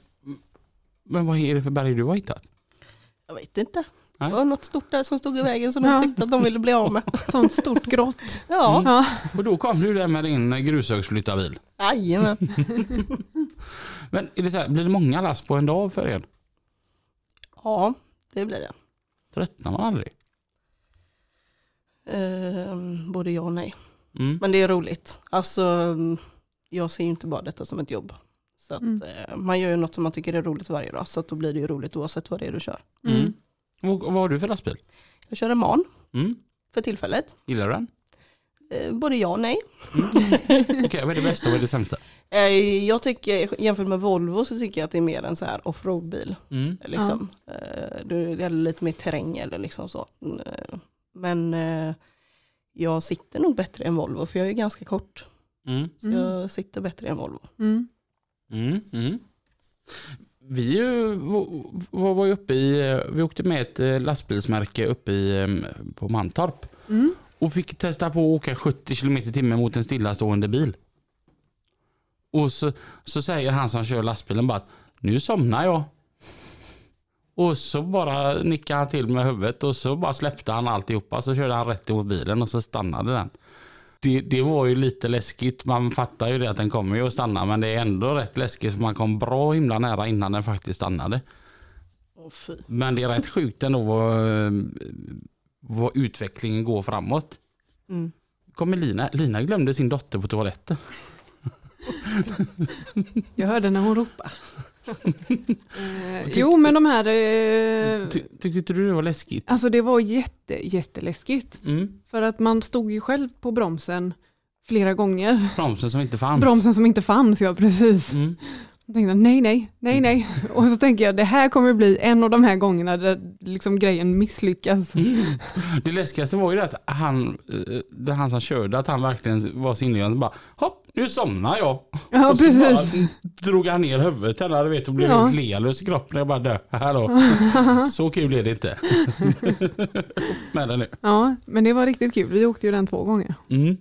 Speaker 2: Men vad är det för berg du har hittat?
Speaker 8: Jag vet inte.
Speaker 2: Nej.
Speaker 8: Det var något stort där som stod i vägen som
Speaker 1: Ja. Mm.
Speaker 8: de tyckte att de ville bli av med.
Speaker 1: Sånt stort grått.
Speaker 8: Ja,
Speaker 1: Ja.
Speaker 2: Och då kom du där med din grushögsflyttarbil.
Speaker 8: jajamän.
Speaker 2: Men är det så här, blir det många lass på en dag för er?
Speaker 8: Ja, det blir det.
Speaker 2: Tröttnar man aldrig?
Speaker 8: Ehm, både ja och nej.
Speaker 2: Mm.
Speaker 8: Men det är roligt. Alltså, mm, jag ser ju inte bara detta som ett jobb. Så att,
Speaker 1: Mm.
Speaker 8: eh, man gör ju något som man tycker är roligt varje dag. Så att då blir det ju roligt oavsett vad det är du kör.
Speaker 1: Mm.
Speaker 2: Vad, vad har du för lastbil?
Speaker 8: Jag kör en man
Speaker 2: Mm.
Speaker 8: för tillfället.
Speaker 2: Gillar du den?
Speaker 8: Eh, både ja och nej.
Speaker 2: Okej, vad är det bästa och vad är det sämsta?
Speaker 8: Eh, jag tycker, jämfört med Volvo så tycker jag att det är mer en så här offroad-bil.
Speaker 2: Mm.
Speaker 8: Liksom. Eh, du- Det är lite mer terräng eller liksom så. Mm, eh, Men eh, jag sitter nog bättre än Volvo för jag är ganska kort.
Speaker 2: Mm.
Speaker 8: Så Jag sitter bättre än Volvo.
Speaker 1: Mm.
Speaker 2: Mm. Mm. Vi är ju- v- var, var ju uppe i, eh, vi åkte med ett eh, lastbilsmärke uppe i, em, på Mantorp
Speaker 1: Mm.
Speaker 2: och fick testa på att åka 70 km i timmen mot en stillastående bil. Och så, så säger han som kör lastbilen bara att nu somnar jag. Och så bara nickade han till med huvudet och så bara släppte han alltihopa så körde han rätt emot bilen och så stannade den. Det, det var ju lite läskigt. Man fattar ju det att den kommer ju att stanna men det är ändå rätt läskigt för man kom bra himla nära innan den faktiskt stannade.
Speaker 8: Åh, fy.
Speaker 2: Men det är rätt sjukt ändå vad, eh, vad utvecklingen går framåt
Speaker 8: Mm.
Speaker 2: kommer Lina. Lina glömde sin dotter på toaletten.
Speaker 1: Jag hörde när hon ropade. eh, jo, men de här... Eh,
Speaker 2: Ty, tyckte inte du det var läskigt?
Speaker 1: alltså det var jätte, jätteläskigt.
Speaker 2: Mm.
Speaker 1: För att man stod ju själv på bromsen flera gånger.
Speaker 2: Bromsen som inte fanns.
Speaker 1: Bromsen som inte fanns, ja precis.
Speaker 2: Mm.
Speaker 1: Jag tänkte, nej, nej, nej, nej. Och så tänker jag, det här kommer bli en av de här gångerna där liksom grejen misslyckas.
Speaker 2: Mm. Det läskigaste var ju det att han, eh, det han som körde, att han verkligen var så inlevande bara hopp, nu somnar jag.
Speaker 1: Ja,
Speaker 2: och så
Speaker 1: precis.
Speaker 2: Bara, drog han ner huvudet henne, du vet, och blev
Speaker 1: Ja. Uh-huh.
Speaker 2: helt lealös i kroppen. Jag bara, dö, hallå. Så kul är det inte. Upp med den nu.
Speaker 1: Ja, men det var riktigt kul. Vi åkte ju den två gånger.
Speaker 2: Mm.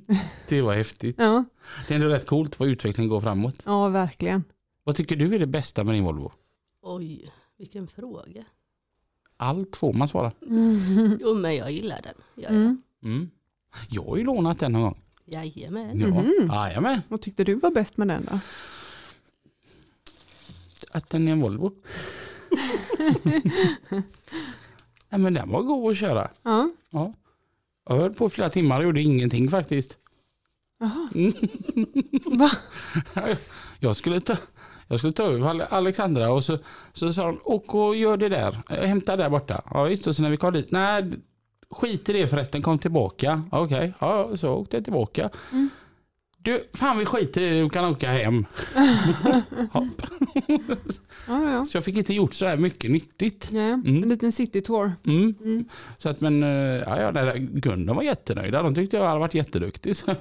Speaker 2: Det var häftigt.
Speaker 1: Ja,
Speaker 2: Det är ändå rätt coolt vad utvecklingen går framåt.
Speaker 1: ja verkligen.
Speaker 2: Vad tycker du är det bästa med din Volvo?
Speaker 9: Oj, vilken fråga.
Speaker 2: Allt får man svara.
Speaker 9: Jo, men jag gillar den. Jag,
Speaker 1: Mm.
Speaker 2: Mm. Jag har ju lånat den någon gång.
Speaker 9: Jajamän.
Speaker 2: Ja.
Speaker 1: Mm-hmm.
Speaker 2: Jajamän,
Speaker 1: Vad tyckte du var bäst med den då?
Speaker 2: att den är en Volvo. Nej, men den var god att köra.
Speaker 1: Ja,
Speaker 2: Ja. Jag höll på flera timmar och gjorde ingenting faktiskt.
Speaker 1: Jaha.
Speaker 2: Mm.
Speaker 1: Va?
Speaker 2: Jag skulle ta, jag skulle ta över Ale- Alexandra och så, så sa hon åk och gör det där. Eh, Hämta där borta. Ja visst och sen när vi kom dit. Nej skit i det förresten kom tillbaka. Ja, Okej ja, så åkte jag tillbaka.
Speaker 1: Mm.
Speaker 2: Du fan vi skiter i det du kan åka hem. Hopp.
Speaker 1: ja, ja.
Speaker 2: så jag fick inte gjort så här mycket nyttigt.
Speaker 1: ja. En liten citytour.
Speaker 2: Mm. Så att men eh, ja, ja, nej, nej, Gunde var jättenöjda. De tyckte jag hade varit jätteduktig. Så.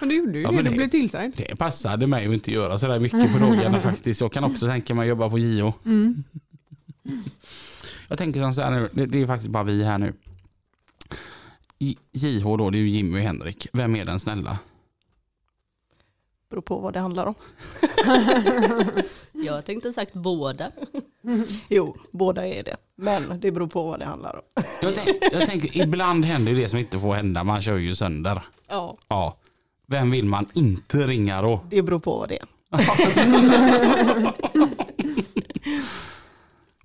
Speaker 1: Men du gjorde ju
Speaker 2: Ja,
Speaker 1: det,
Speaker 2: men
Speaker 1: du
Speaker 2: det-
Speaker 1: blev tillsagd.
Speaker 2: Det passade mig att inte göra sådär mycket på dagarna faktiskt. Jag kan också tänka mig att jobba på JO. Jag tänker som så här nu, det, det är faktiskt bara vi här nu. J- JH då, det är ju Jimmy och Henrik. Vem är den snälla?
Speaker 8: Beror på vad det handlar om.
Speaker 9: Jag tänkte sagt båda.
Speaker 8: Jo, båda är det. Men det beror på vad det handlar om.
Speaker 2: Jag, tänk, jag tänker, ibland händer ju det som inte får hända. Man kör ju sönder.
Speaker 8: Ja,
Speaker 2: Ja. Vem vill man inte ringa då?
Speaker 8: det beror på vad det är.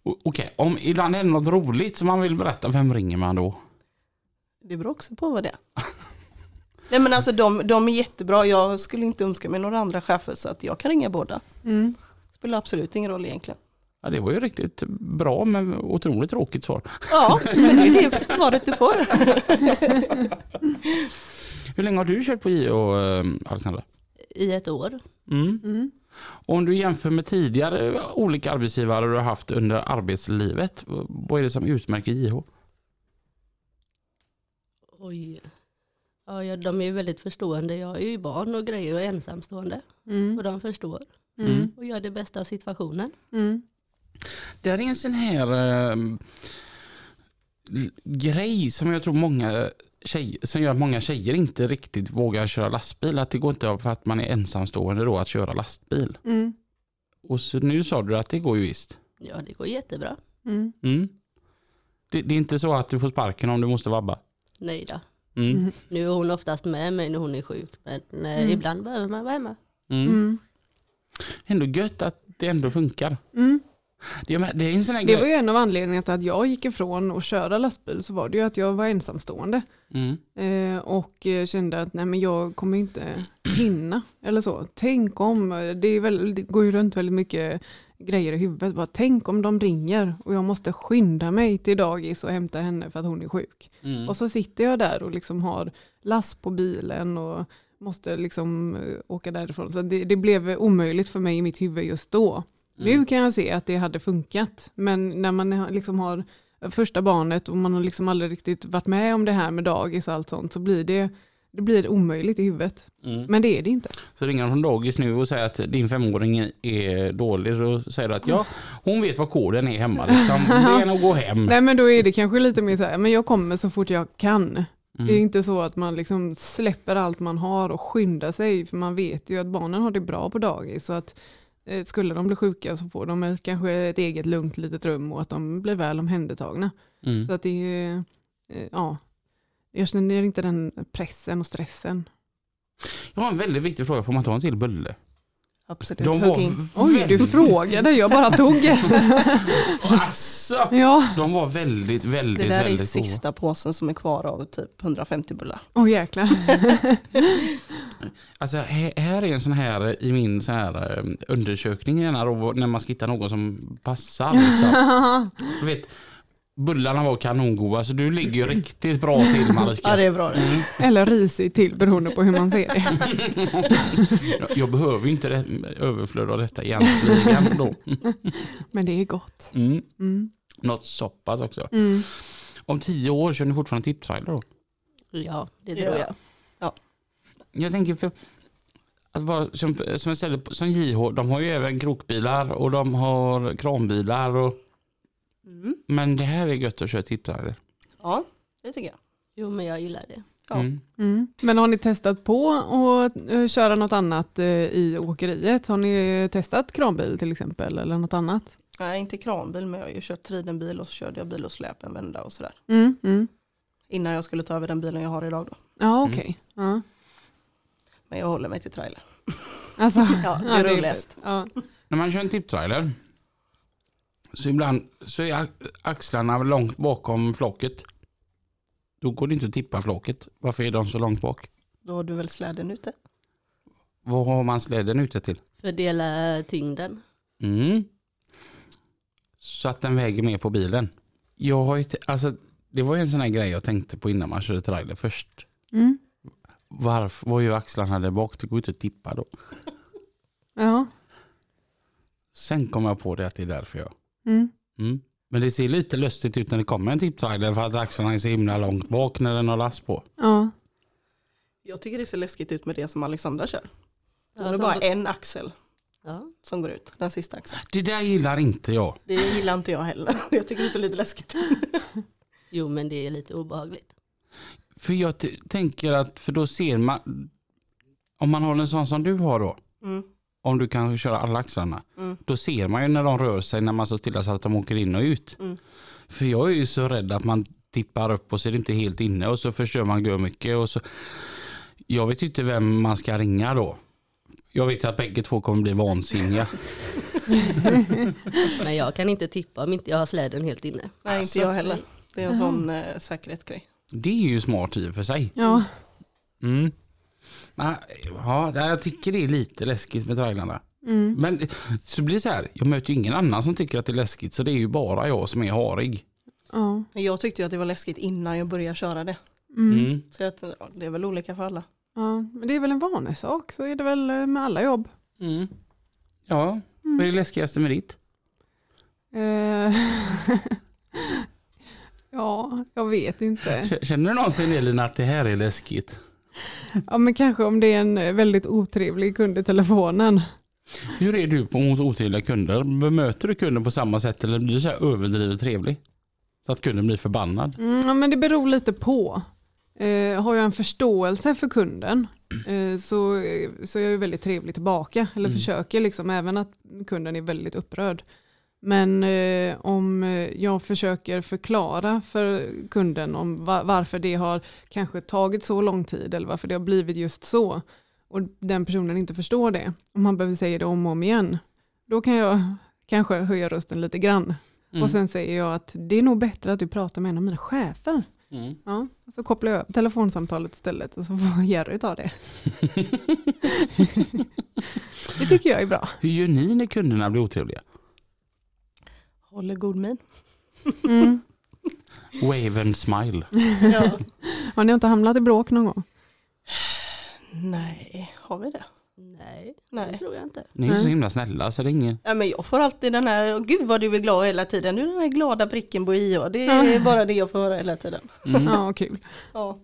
Speaker 2: O- Okej, om ibland är det något roligt som man vill berätta, vem ringer man då?
Speaker 8: Det beror också på vad det är. Nej men alltså de, de är jättebra. Jag skulle inte önska mig några andra chefer så att jag kan ringa båda.
Speaker 1: Mm.
Speaker 8: Spelar absolut ingen roll egentligen.
Speaker 2: Ja, det var ju riktigt bra men otroligt tråkigt svar.
Speaker 8: Ja, men det är det svaret du får.
Speaker 2: Hur länge har du kört på JO, eh, Alexandra?
Speaker 9: I ett år.
Speaker 2: Mm.
Speaker 1: Mm.
Speaker 2: Om du jämför med tidigare eh, olika arbetsgivare du har haft under arbetslivet, eh, vad är det som utmärker JH?
Speaker 9: Oj. Ja, ja, de är ju väldigt förstående. Jag är ju barn och grejer och är ensamstående.
Speaker 1: Mm.
Speaker 9: Och de förstår
Speaker 1: Mm.
Speaker 9: och gör det bästa av situationen.
Speaker 1: Mm.
Speaker 2: Det här är en sån här eh, l- grej som jag tror många tjejer, som gör att många tjejer inte riktigt vågar köra lastbil. Att det går inte för att man är ensamstående då att köra lastbil.
Speaker 1: Mm.
Speaker 2: Och så nu sa du att det går ju visst.
Speaker 9: Ja, det går jättebra.
Speaker 1: Mm.
Speaker 2: Mm. Det, det är inte så att du får sparken om du måste vabba.
Speaker 9: Nej då.
Speaker 2: Mm.
Speaker 1: Mm.
Speaker 9: Nu är hon oftast med mig när hon är sjuk. Men eh,
Speaker 1: Mm.
Speaker 9: ibland behöver man vara hemma.
Speaker 2: Mm.
Speaker 1: Mm.
Speaker 2: Ändå gött att det ändå funkar.
Speaker 1: Mm.
Speaker 2: Det är, det är en sån här
Speaker 1: Det var
Speaker 2: grej.
Speaker 1: ju en av anledningarna till att jag gick ifrån att köra lastbil så var det ju att jag var ensamstående
Speaker 2: Mm.
Speaker 1: eh, och eh, kände att nej men jag kommer inte hinna eller så. Tänk om, det, är väl, det går ju runt väldigt mycket grejer i huvudet, bara tänk om de ringer och jag måste skynda mig till dagis och hämta henne för att hon är sjuk.
Speaker 2: Mm.
Speaker 1: Och så sitter jag där och liksom har last på bilen och måste liksom eh, åka därifrån. Så det, det blev omöjligt för mig i mitt huvud just då.
Speaker 2: Mm.
Speaker 1: Nu kan jag se att det hade funkat, men när man har- liksom har första barnet och man har liksom aldrig riktigt varit med om det här med dagis och allt sånt så blir det, det blir omöjligt i huvudet.
Speaker 2: Mm.
Speaker 1: Men det är det inte.
Speaker 2: Så ringer de från dagis nu och säger att din femåring är dålig. Då säger du att ja, hon vet vad koden är hemma. Liksom. Det är nog att gå hem.
Speaker 1: Nej men då är det kanske lite mer så här, men jag kommer så fort jag kan. Det är
Speaker 2: Mm.
Speaker 1: inte så att man liksom släpper allt man har och skyndar sig, för man vet ju att barnen har det bra på dagis. Så att eh, skulle de bli sjuka så får de ett, kanske ett eget lugnt litet rum och att de blir väl omhändertagna.
Speaker 2: Mm.
Speaker 1: Så att det är ju, eh, ja, jag känner inte den pressen och stressen.
Speaker 2: Jag har en väldigt viktig fråga. Får man ta en till bulle?
Speaker 8: Absolut,
Speaker 2: De
Speaker 8: hugg in.
Speaker 2: var
Speaker 1: Oj, du
Speaker 2: väldigt...
Speaker 1: frågade, jag bara tog.
Speaker 2: Alltså,
Speaker 1: ja,
Speaker 2: de var väldigt, väldigt,
Speaker 8: Det där är
Speaker 2: väldigt
Speaker 8: sista påsen som är kvar av typ 150 bullar.
Speaker 1: åh jäklar.
Speaker 2: Alltså här, här är en sån här i min så här, eh, undersökning gärna då, när man ska hitta någon som passar. Liksom. Du vet, Bullarna var kanongoda så du ligger ju riktigt bra till Mm.
Speaker 8: Ja,
Speaker 2: Marika.
Speaker 8: det är bra det.
Speaker 1: Eller risigt till beroende på hur man ser det.
Speaker 2: Jag- Jag behöver ju inte det, överflöd av detta egentligen då.
Speaker 1: Men det är gott.
Speaker 2: Mm.
Speaker 1: Mm.
Speaker 2: Något så pass också.
Speaker 1: Mm.
Speaker 2: Om tio år kör ni fortfarande tipptrailer då?
Speaker 9: Ja, det tror
Speaker 8: Ja.
Speaker 9: jag.
Speaker 2: Jag tänker för att vara, som, som jag ställde, på- som JH, de har ju även krokbilar och de har kranbilar. Och,
Speaker 8: Mm.
Speaker 2: men det här är gött att köra tipptrailer.
Speaker 8: Ja, det tycker jag.
Speaker 9: Jo, men jag gillar det.
Speaker 8: Ja.
Speaker 2: Mm.
Speaker 1: Mm. Men har ni testat på att eh, köra något annat eh, i åkeriet? Har ni testat kranbil till exempel eller något annat?
Speaker 8: Nej, inte kranbil, men jag har ju kört tridenbil och så körde jag bil och släp en vända och sådär.
Speaker 1: Mm. Mm.
Speaker 8: Innan jag skulle ta över den bilen jag har idag då.
Speaker 1: Ja,
Speaker 2: Mm.
Speaker 1: okej. Ja.
Speaker 8: Men jag håller mig till trailer.
Speaker 1: Alltså,
Speaker 8: Ja, det är typ- roligast.
Speaker 1: Ja.
Speaker 2: När man kör en tipptrailer så ibland så är ax- axlarna långt bakom flocket. Då går det inte att tippa flocket. Varför är de så långt bak?
Speaker 8: Då har du väl släden ute?
Speaker 2: Vad har man släden ute till?
Speaker 9: Fördela tyngden.
Speaker 2: Mm. Så att den väger mer på bilen. Jag har ju t- alltså, det var ju en sån här grej jag tänkte på innan man körde trailer först.
Speaker 1: Mm.
Speaker 2: Varför var ju axlarna där bak? Det går ju inte att tippa då.
Speaker 1: Ja.
Speaker 2: Sen kom jag på det att det är därför jag.
Speaker 1: Mm.
Speaker 2: Mm. Men det ser lite lustigt ut när det kommer en tipptrailer för att axlarna är så himla långt bak när den har last på.
Speaker 1: ja.
Speaker 8: Jag tycker det ser läskigt ut med det som Alexandra kör. Hon har
Speaker 9: Alltså,
Speaker 8: bara en axel
Speaker 9: ja.
Speaker 8: som går ut, den sista axeln.
Speaker 2: Det där gillar inte jag.
Speaker 8: Det gillar inte jag heller. Jag tycker det ser lite läskigt ut.
Speaker 9: Jo, men det är lite obehagligt.
Speaker 2: För jag t- tänker att för då ser man, om man har en sån som du har då,
Speaker 8: Mm.
Speaker 2: om du kan köra alla axlarna,
Speaker 8: Mm.
Speaker 2: då ser man ju när de rör sig när man står stilla så att de åker in och ut.
Speaker 8: Mm.
Speaker 2: För jag är ju så rädd att man tippar upp och så är det inte helt inne och så förstör man gör mycket och så. Jag vet ju inte vem man ska ringa då. Jag vet att bägge två kommer bli vansinniga.
Speaker 9: Men jag kan inte tippa om inte jag har släden helt inne.
Speaker 8: Nej,
Speaker 6: Alltså.
Speaker 8: inte jag heller. Det är en sån eh, säkerhetsgrej.
Speaker 2: Det är ju smart i och för sig.
Speaker 1: ja.
Speaker 2: Mm. Men, Ja, jag tycker det är lite läskigt med trailrarna.
Speaker 1: Mm.
Speaker 2: Men så blir det så här, jag möter ju ingen annan som tycker att det är läskigt så det är ju bara jag som är harig.
Speaker 1: ja.
Speaker 8: Men Jag tyckte ju att det var läskigt innan jag började köra det.
Speaker 1: Mm.
Speaker 2: Mm.
Speaker 8: Så jag, ja, det är väl olika för alla.
Speaker 1: ja. Men det är väl en vanesak, så är det väl eh, med alla jobb.
Speaker 2: Mm. Ja, vad är det läskigaste med ditt?
Speaker 1: Eh, ja, jag vet inte.
Speaker 2: K- Känner du någonsin Elina att det här är läskigt?
Speaker 1: Ja, men kanske om det är en eh, väldigt otrevlig kund i telefonen.
Speaker 2: Hur är du på mot otrevliga kunder? Bemöter du kunden på samma sätt eller blir du så här överdrivet trevlig? Så att kunden blir förbannad?
Speaker 1: Mm, ja, men det beror lite på. Eh, har jag en förståelse för kunden eh, så, så är jag ju väldigt trevlig tillbaka. Eller
Speaker 2: Mm.
Speaker 1: försöker liksom, även att kunden är väldigt upprörd. Men eh, om eh, jag försöker förklara för kunden om va- varför det har kanske tagit så lång tid eller varför det har blivit just så och den personen inte förstår det, om han behöver säga det om och om igen, då kan jag kanske höja rösten lite grann.
Speaker 2: Mm.
Speaker 1: Och sen säger jag att det är nog bättre att du pratar med en av mina chefer.
Speaker 2: Mm.
Speaker 1: Ja, och så kopplar jag upp telefonsamtalet istället och så får Jerry ta det. det tycker jag är bra.
Speaker 2: Hur gör ni när kunderna blir otrevliga?
Speaker 8: Håller god min.
Speaker 1: Mm.
Speaker 2: Wave and smile.
Speaker 8: Ja.
Speaker 1: Har ni inte hamnat i bråk någon gång?
Speaker 8: Nej, har vi det?
Speaker 9: Nej, det
Speaker 8: Nej.
Speaker 9: tror jag inte.
Speaker 2: Ni är så
Speaker 1: Nej.
Speaker 2: himla snälla så det är ingen...
Speaker 8: Ja, men jag får alltid den här, "Åh, gud vad du är glad hela tiden, du är den här glada pricken på IH. Det är bara det jag får höra hela tiden.
Speaker 2: Mm.
Speaker 1: Ja, vad kul.
Speaker 8: Ja.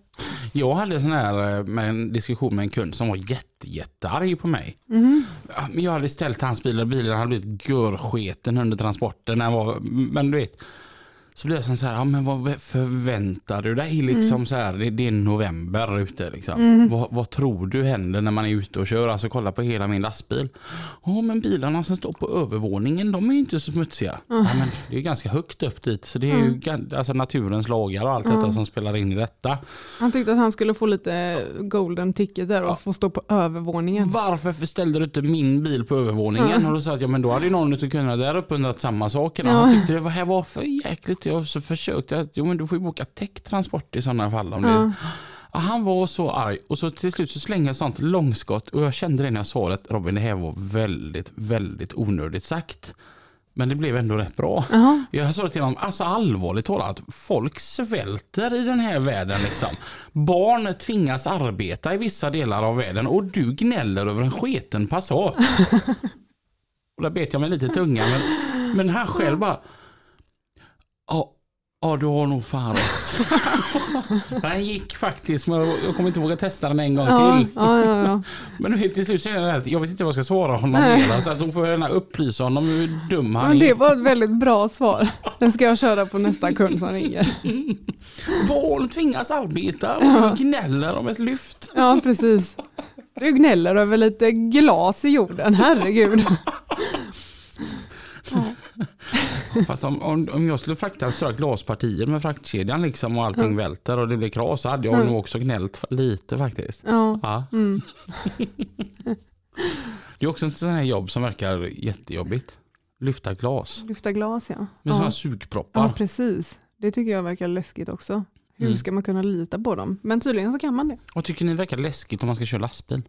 Speaker 2: Jag hade en sån här eh, med en diskussion med en kund som var jätte, jättearg på mig.
Speaker 1: Mhm.
Speaker 2: Ja, men Jag hade ställt hans bil och bilen hade blivit görsketen under transporten. Den var, men du vet, så blev jag sån så här, ja, men vad förväntar du dig? Liksom så här, det, det är november ute. Liksom.
Speaker 1: Mm-hmm.
Speaker 2: Vad, vad tror du händer när man är ute och kör? Alltså kolla på hela min lastbil. Ja men bilarna som står på övervåningen de är ju inte så smutsiga. Ja, men det är ganska högt upp dit så det är ju gan- alltså, naturens lagar och allt detta som spelar in i detta.
Speaker 1: Han tyckte att han skulle få lite golden ticket där och få stå på
Speaker 2: Mm.
Speaker 1: övervåningen.
Speaker 2: Varför ställde du inte min bil på övervåningen? Och då sa jag att ja, men då hade ju någon av kunderna där uppe undrat samma sak. Ja. Han tyckte det var- här var för jäkligt. Jag så försökte jag att jo, men du får ju boka täcktransport i sådana fall. Om det. Ja, han var så arg och så till slut så slängde jag sånt långskott och jag kände det när jag sa det att Robin det här var väldigt, väldigt onödigt sagt. Men det blev ändå rätt bra.
Speaker 1: Jaha.
Speaker 2: Jag sa det till honom, alltså allvarligt talat, folk svälter i den här världen liksom. Barn tvingas arbeta i vissa delar av världen och du gnäller över en sketen Passat. Och där bet jag mig lite i tungan, men, men han själv bara, ja, ja du har nog fan rätt. Han gick faktiskt, men jag jag kommer inte våga testa den en gång
Speaker 1: Ja,
Speaker 2: till.
Speaker 1: ja, ja, ja.
Speaker 2: Men nu till slut känner jag att jag vet inte vad jag ska svara honom
Speaker 1: Nej.
Speaker 2: mer, så att då får jag gärna upplysa honom hur dum han
Speaker 1: Men
Speaker 2: är.
Speaker 1: det var ett väldigt bra svar. Den ska jag köra på nästa kund som ringer.
Speaker 2: Barn tvingas arbeta och gnäller om ett lyft.
Speaker 1: Ja, precis. Du gnäller över lite glas i jorden, herregud.
Speaker 2: Fast om, om, om jag skulle frakta stora glaspartier med fraktkedjan liksom och allting välter och det blir kras så hade jag nog också gnällt lite faktiskt.
Speaker 1: Ja, Mm.
Speaker 2: Ja. det är också ett sånt här jobb som verkar jättejobbigt. Lyfta glas
Speaker 1: lyfta glas ja.
Speaker 2: med sådana
Speaker 1: Ja.
Speaker 2: här sugproppar.
Speaker 1: ja, precis. Det tycker jag verkar läskigt också. Hur
Speaker 2: Mm.
Speaker 1: ska man kunna lita på dem? Men tydligen så kan man det.
Speaker 2: Vad tycker ni verkar läskigt om man ska köra lastbil?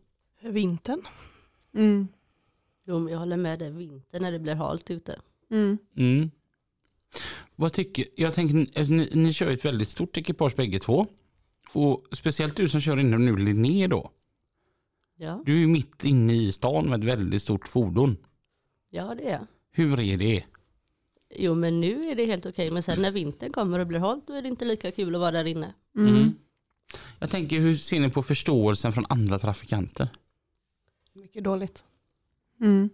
Speaker 8: Vintern.
Speaker 1: Mm.
Speaker 9: Jo, men jag håller med dig. Vintern när det blir halt ute.
Speaker 1: Mm.
Speaker 2: Mm. Vad tycker, jag tänker, alltså, ni, ni kör ju ett väldigt stort ekipage bägge två. Och speciellt du som kör inom nu Linné då.
Speaker 9: Ja,
Speaker 2: Du är ju mitt inne i stan med ett väldigt stort fordon.
Speaker 9: ja det är jag.
Speaker 2: Hur är det?
Speaker 9: Jo, men nu är det helt okej. Men sen när vintern kommer och blir halt, då är det inte lika kul att vara där inne.
Speaker 1: Mm.
Speaker 2: Jag tänker, hur ser ni på förståelsen från andra trafikanter?
Speaker 8: Mycket dåligt.
Speaker 1: Mm.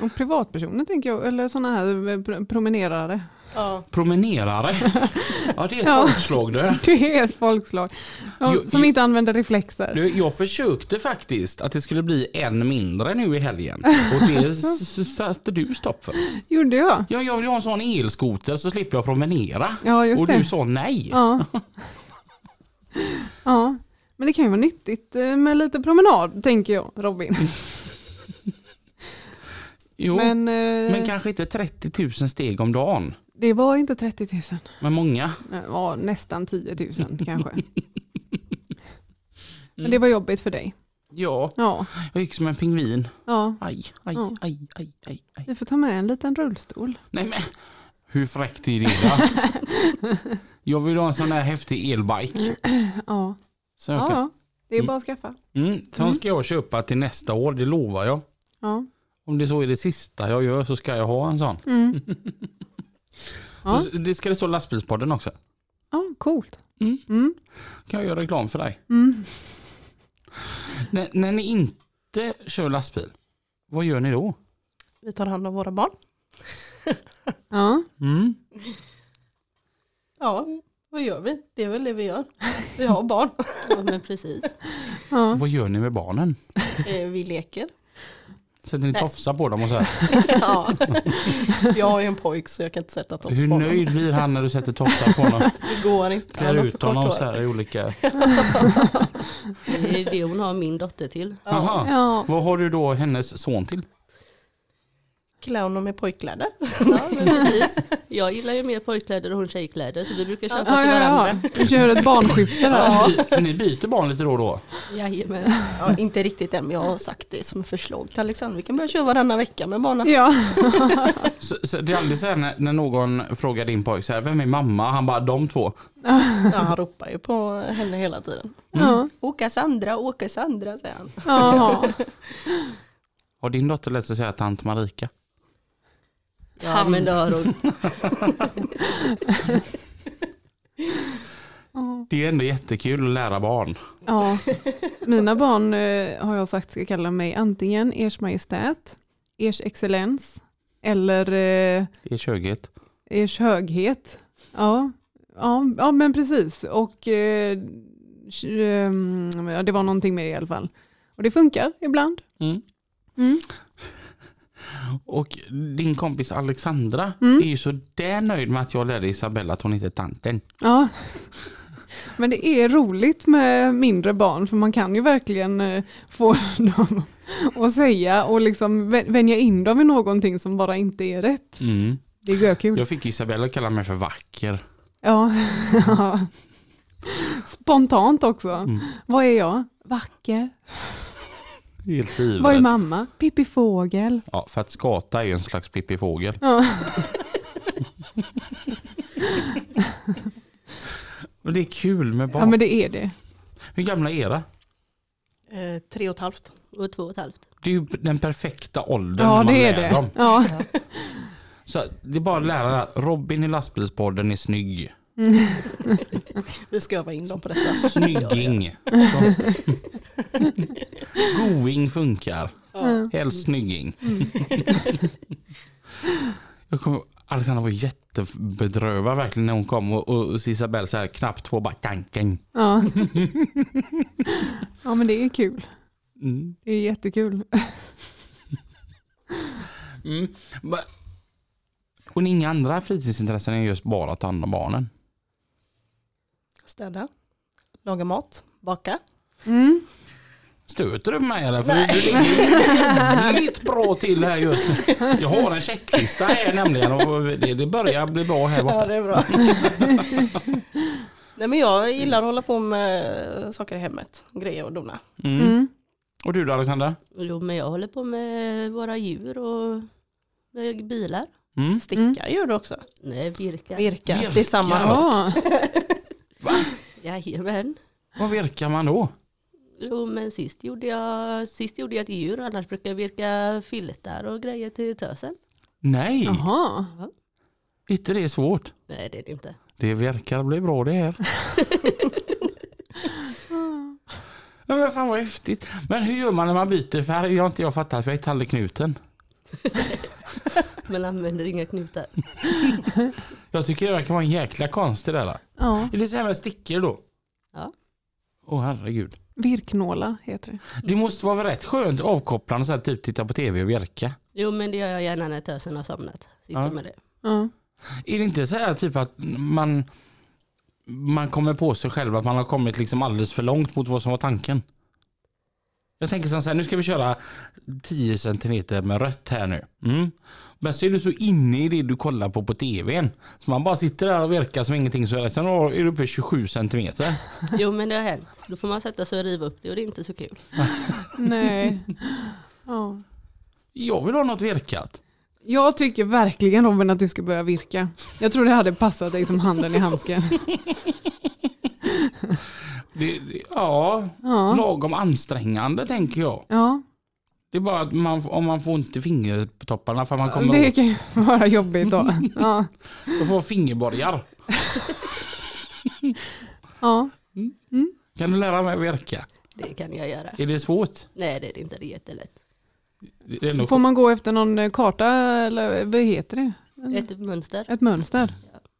Speaker 1: Och privatpersoner tänker jag, eller sådana här eh, pr- promenerare.
Speaker 8: Ja.
Speaker 2: Promenerare? ja, det är ett
Speaker 1: Ja.
Speaker 2: folkslag det.
Speaker 1: Det är ett folkslag. De
Speaker 2: Jo,
Speaker 1: som
Speaker 2: jo.
Speaker 1: inte använder reflexer.
Speaker 2: Du, jag försökte faktiskt att det skulle bli en mindre nu i helgen. Och det s- s- satte du stopp för.
Speaker 1: Gjorde jag?
Speaker 2: Ja, jag vill ha en sån elskoter så slipper jag promenera.
Speaker 1: Ja, just
Speaker 2: och
Speaker 1: det.
Speaker 2: du sa nej.
Speaker 1: Ja. ja. Men det kan ju vara nyttigt eh, med lite promenad, tänker jag, Robin.
Speaker 2: Jo, men,
Speaker 1: Men, eh,
Speaker 2: kanske inte 30 000 steg om dagen.
Speaker 1: det var inte 30 000.
Speaker 2: Men många.
Speaker 1: Det var nästan 10 000 kanske. Men det var jobbigt för dig.
Speaker 2: Ja,
Speaker 1: Ja.
Speaker 2: jag gick som en pingvin.
Speaker 1: ja.
Speaker 2: Aj, aj,
Speaker 1: Ja.
Speaker 2: aj, aj, aj, aj.
Speaker 1: Vi får ta med en liten rullstol.
Speaker 2: Nej men, hur fräckt är det då? jag vill ha en sån där häftig elbike.
Speaker 1: Ja.
Speaker 2: Så jag
Speaker 1: Ja,
Speaker 2: kan...
Speaker 1: ja. Det är bara att skaffa.
Speaker 2: mm, sån ska jag köpa till nästa år, det lovar jag.
Speaker 1: Ja.
Speaker 2: Om det så är det sista jag gör så ska jag ha en sån.
Speaker 1: Mm. Ja.
Speaker 2: Och Det ska det stå lastbilspodden också.
Speaker 1: ja, coolt.
Speaker 2: Mm.
Speaker 1: Mm.
Speaker 2: Kan jag göra reklam för dig.
Speaker 1: Mm.
Speaker 2: När, när ni inte kör lastbil, vad gör ni då?
Speaker 8: Vi tar hand om våra barn.
Speaker 1: Ja.
Speaker 2: Mm.
Speaker 8: Ja, vad gör vi? Det är väl det vi gör. Vi har barn.
Speaker 9: Ja, men precis.
Speaker 1: Ja.
Speaker 2: Vad gör ni med barnen?
Speaker 8: Eh, vi leker.
Speaker 2: Sätter ni
Speaker 8: Nej.
Speaker 2: tofsar på dem och så här?
Speaker 8: Ja. Jag har ju en pojk så jag kan inte sätta tops
Speaker 2: Hur
Speaker 8: på
Speaker 2: nöjd blir han när du sätter tofsar på honom?
Speaker 8: Det går inte. Han
Speaker 2: Klär
Speaker 8: har
Speaker 2: ut
Speaker 8: för kort
Speaker 2: honom
Speaker 8: hår.
Speaker 2: så här i olika...
Speaker 9: Det är det hon har min dotter till.
Speaker 2: Aha.
Speaker 1: Ja.
Speaker 2: Vad har du då hennes son till?
Speaker 8: Klä honom i pojkkläder.
Speaker 9: Ja, men precis. Jag gillar ju mer pojkkläder och hon tjejkläder, så vi brukar köpa
Speaker 1: Ja,
Speaker 9: till
Speaker 1: ja,
Speaker 9: varandra.
Speaker 1: ja. Vi kör ett barnskifte där.
Speaker 2: Ni- Ni byter barn lite då och då?
Speaker 9: Jajamän.
Speaker 8: Ja, inte riktigt än, men jag har sagt det som förslag till Alexander. Vi kan börja köra varannan vecka med barnen.
Speaker 1: Ja.
Speaker 2: Så, så det är aldrig så här när, när någon frågar din pojk så här, vem är mamma? Han bara, de två.
Speaker 8: Ja, han ropar ju på henne hela tiden.
Speaker 1: Ja.
Speaker 8: Åka Sandra, åka Sandra, säger han.
Speaker 1: Jaha.
Speaker 2: Har din dotter lärt sig säga tant Marika?
Speaker 9: Ja, men det har hon.
Speaker 2: Det är ändå jättekul att lära barn.
Speaker 1: Ja, mina barn eh, har jag sagt ska kalla mig antingen Ers Majestät, Ers Excellens eller eh,
Speaker 2: Det är köget.
Speaker 1: Ers Höghet. Ja, ja, ja men precis. Och eh, tj- ehm, ja, det var någonting med det i alla fall. Och det funkar ibland.
Speaker 2: Mm.
Speaker 1: Mm.
Speaker 2: Och din kompis Alexandra
Speaker 1: Mm.
Speaker 2: är ju så där nöjd med att jag lärde Isabella att hon inte är tanten.
Speaker 1: Ja. Men det är roligt med mindre barn för man kan ju verkligen eh, få dem att säga och liksom vä- vänja in dem i någonting som bara inte är rätt.
Speaker 2: Mm.
Speaker 1: Det är görkul.
Speaker 2: Jag fick Isabella att kalla mig för vacker.
Speaker 1: Ja. Ja. Spontant också.
Speaker 2: Mm.
Speaker 1: Vad är jag? Vacker.
Speaker 2: Helt
Speaker 1: Vad är
Speaker 2: livrädd.
Speaker 1: mamma? Pippi Fågel.
Speaker 2: Ja, för att skata är ju en slags pippifågel.
Speaker 1: Ja.
Speaker 2: Och det är kul med barn.
Speaker 1: ja men det är det.
Speaker 2: Hur gamla är era?
Speaker 8: Eh, tre och ett halvt.
Speaker 9: Och två och ett halvt.
Speaker 2: Det är ju den perfekta åldern
Speaker 1: Ja
Speaker 2: man
Speaker 1: det är
Speaker 2: lär
Speaker 1: det.
Speaker 2: dem.
Speaker 1: Ja.
Speaker 2: Så det är bara att lära att Robin i lastbilspodden är snygg.
Speaker 8: Vi ska öva in dem på detta.
Speaker 2: Snygging. Going funkar. Helst snygging. Jag kommer, Alexandra var jättebedrövad verkligen när hon kom och, och Isabelle så här knappt två bara kang, kang.
Speaker 1: Ja. ja men det är kul.
Speaker 2: Mm.
Speaker 1: Det är jättekul.
Speaker 2: Mm. Men- Och ni har inga andra fritidsintressen än just bara att ta hand om barnen?
Speaker 8: Städa, laga mat, baka.
Speaker 1: Mm.
Speaker 2: Stöter du mig eller? För du ligger jävligt bra till här just nu. Jag har en checklista här nämligen och det, det börjar bli bra här borta.
Speaker 8: det är bra. Nej men jag gillar att hålla på med saker i hemmet, grejer och dona.
Speaker 2: Mm.
Speaker 1: Mm.
Speaker 2: Och du då Alexandra?
Speaker 9: Jo, men jag håller på med våra djur och med bilar.
Speaker 2: Mm.
Speaker 8: Stickar gör du också.
Speaker 9: Nej, virkar.
Speaker 8: Virkar, det är
Speaker 2: Virkar.
Speaker 8: samma sak.
Speaker 1: Ja.
Speaker 9: Jajamän.
Speaker 2: Vad virkar man då?
Speaker 9: Jo, men sist gjorde, jag, sist gjorde jag ett djur, annars brukar jag virka filtar och grejer till tösen.
Speaker 2: Nej,
Speaker 1: Jaha.
Speaker 2: inte det är svårt.
Speaker 9: Nej, det är det inte.
Speaker 2: Det verkar bli bra det här. Ja, men fan vad häftigt. Men hur gör man när man byter färg? Jag har inte jag fattat för jag är talleknuten.
Speaker 9: Men använder inga knutar.
Speaker 2: Jag tycker det verkar vara en jäkla konst det där.
Speaker 1: Ja.
Speaker 2: Är det så här med stickor då?
Speaker 9: Ja.
Speaker 2: Åh herregud.
Speaker 1: Virknålar heter det.
Speaker 2: Det måste vara rätt skönt avkopplande så här, typ titta på tv och verka.
Speaker 9: Jo, men det gör jag gärna när tösen har somnat. Sitter
Speaker 2: Ja.
Speaker 9: med det.
Speaker 1: Ja.
Speaker 2: Är det inte så här typ att man, man kommer på sig själv att man har kommit liksom alldeles för långt mot vad som var tanken? Jag tänker som så här, nu ska vi köra 10 centimeter med rött här nu. Mm. Men så är du så inne i det du kollar på på tvn. Så man bara sitter där och verkar som ingenting. Så är det, sen är du uppe i 27 centimeter.
Speaker 9: Jo, men det har hänt. Då får man sätta sig och riva upp det och det är inte så kul.
Speaker 1: Nej. Ja.
Speaker 2: Jag vill ha något verkat.
Speaker 1: Jag tycker verkligen Robin att du ska börja virka. Jag tror det hade passat dig som handen i handsken.
Speaker 2: Det, det, ja,
Speaker 1: Ja.
Speaker 2: lagom ansträngande tänker jag.
Speaker 1: Ja,
Speaker 2: Det är bara att man, om man får ont i fingertopparna för man kommer
Speaker 1: det kan ju vara jobbigt då. Ja,
Speaker 2: Jag får fingerborgar.
Speaker 1: ja.
Speaker 2: Kan du lära mig att verka?
Speaker 9: Det kan jag göra.
Speaker 2: Är det svårt?
Speaker 9: Nej, det är det inte. Det är jättelätt.
Speaker 2: Det är ändå
Speaker 1: Får man gå efter någon eh, karta eller eh, vad heter det?
Speaker 9: Ett mönster.
Speaker 1: Ett mönster?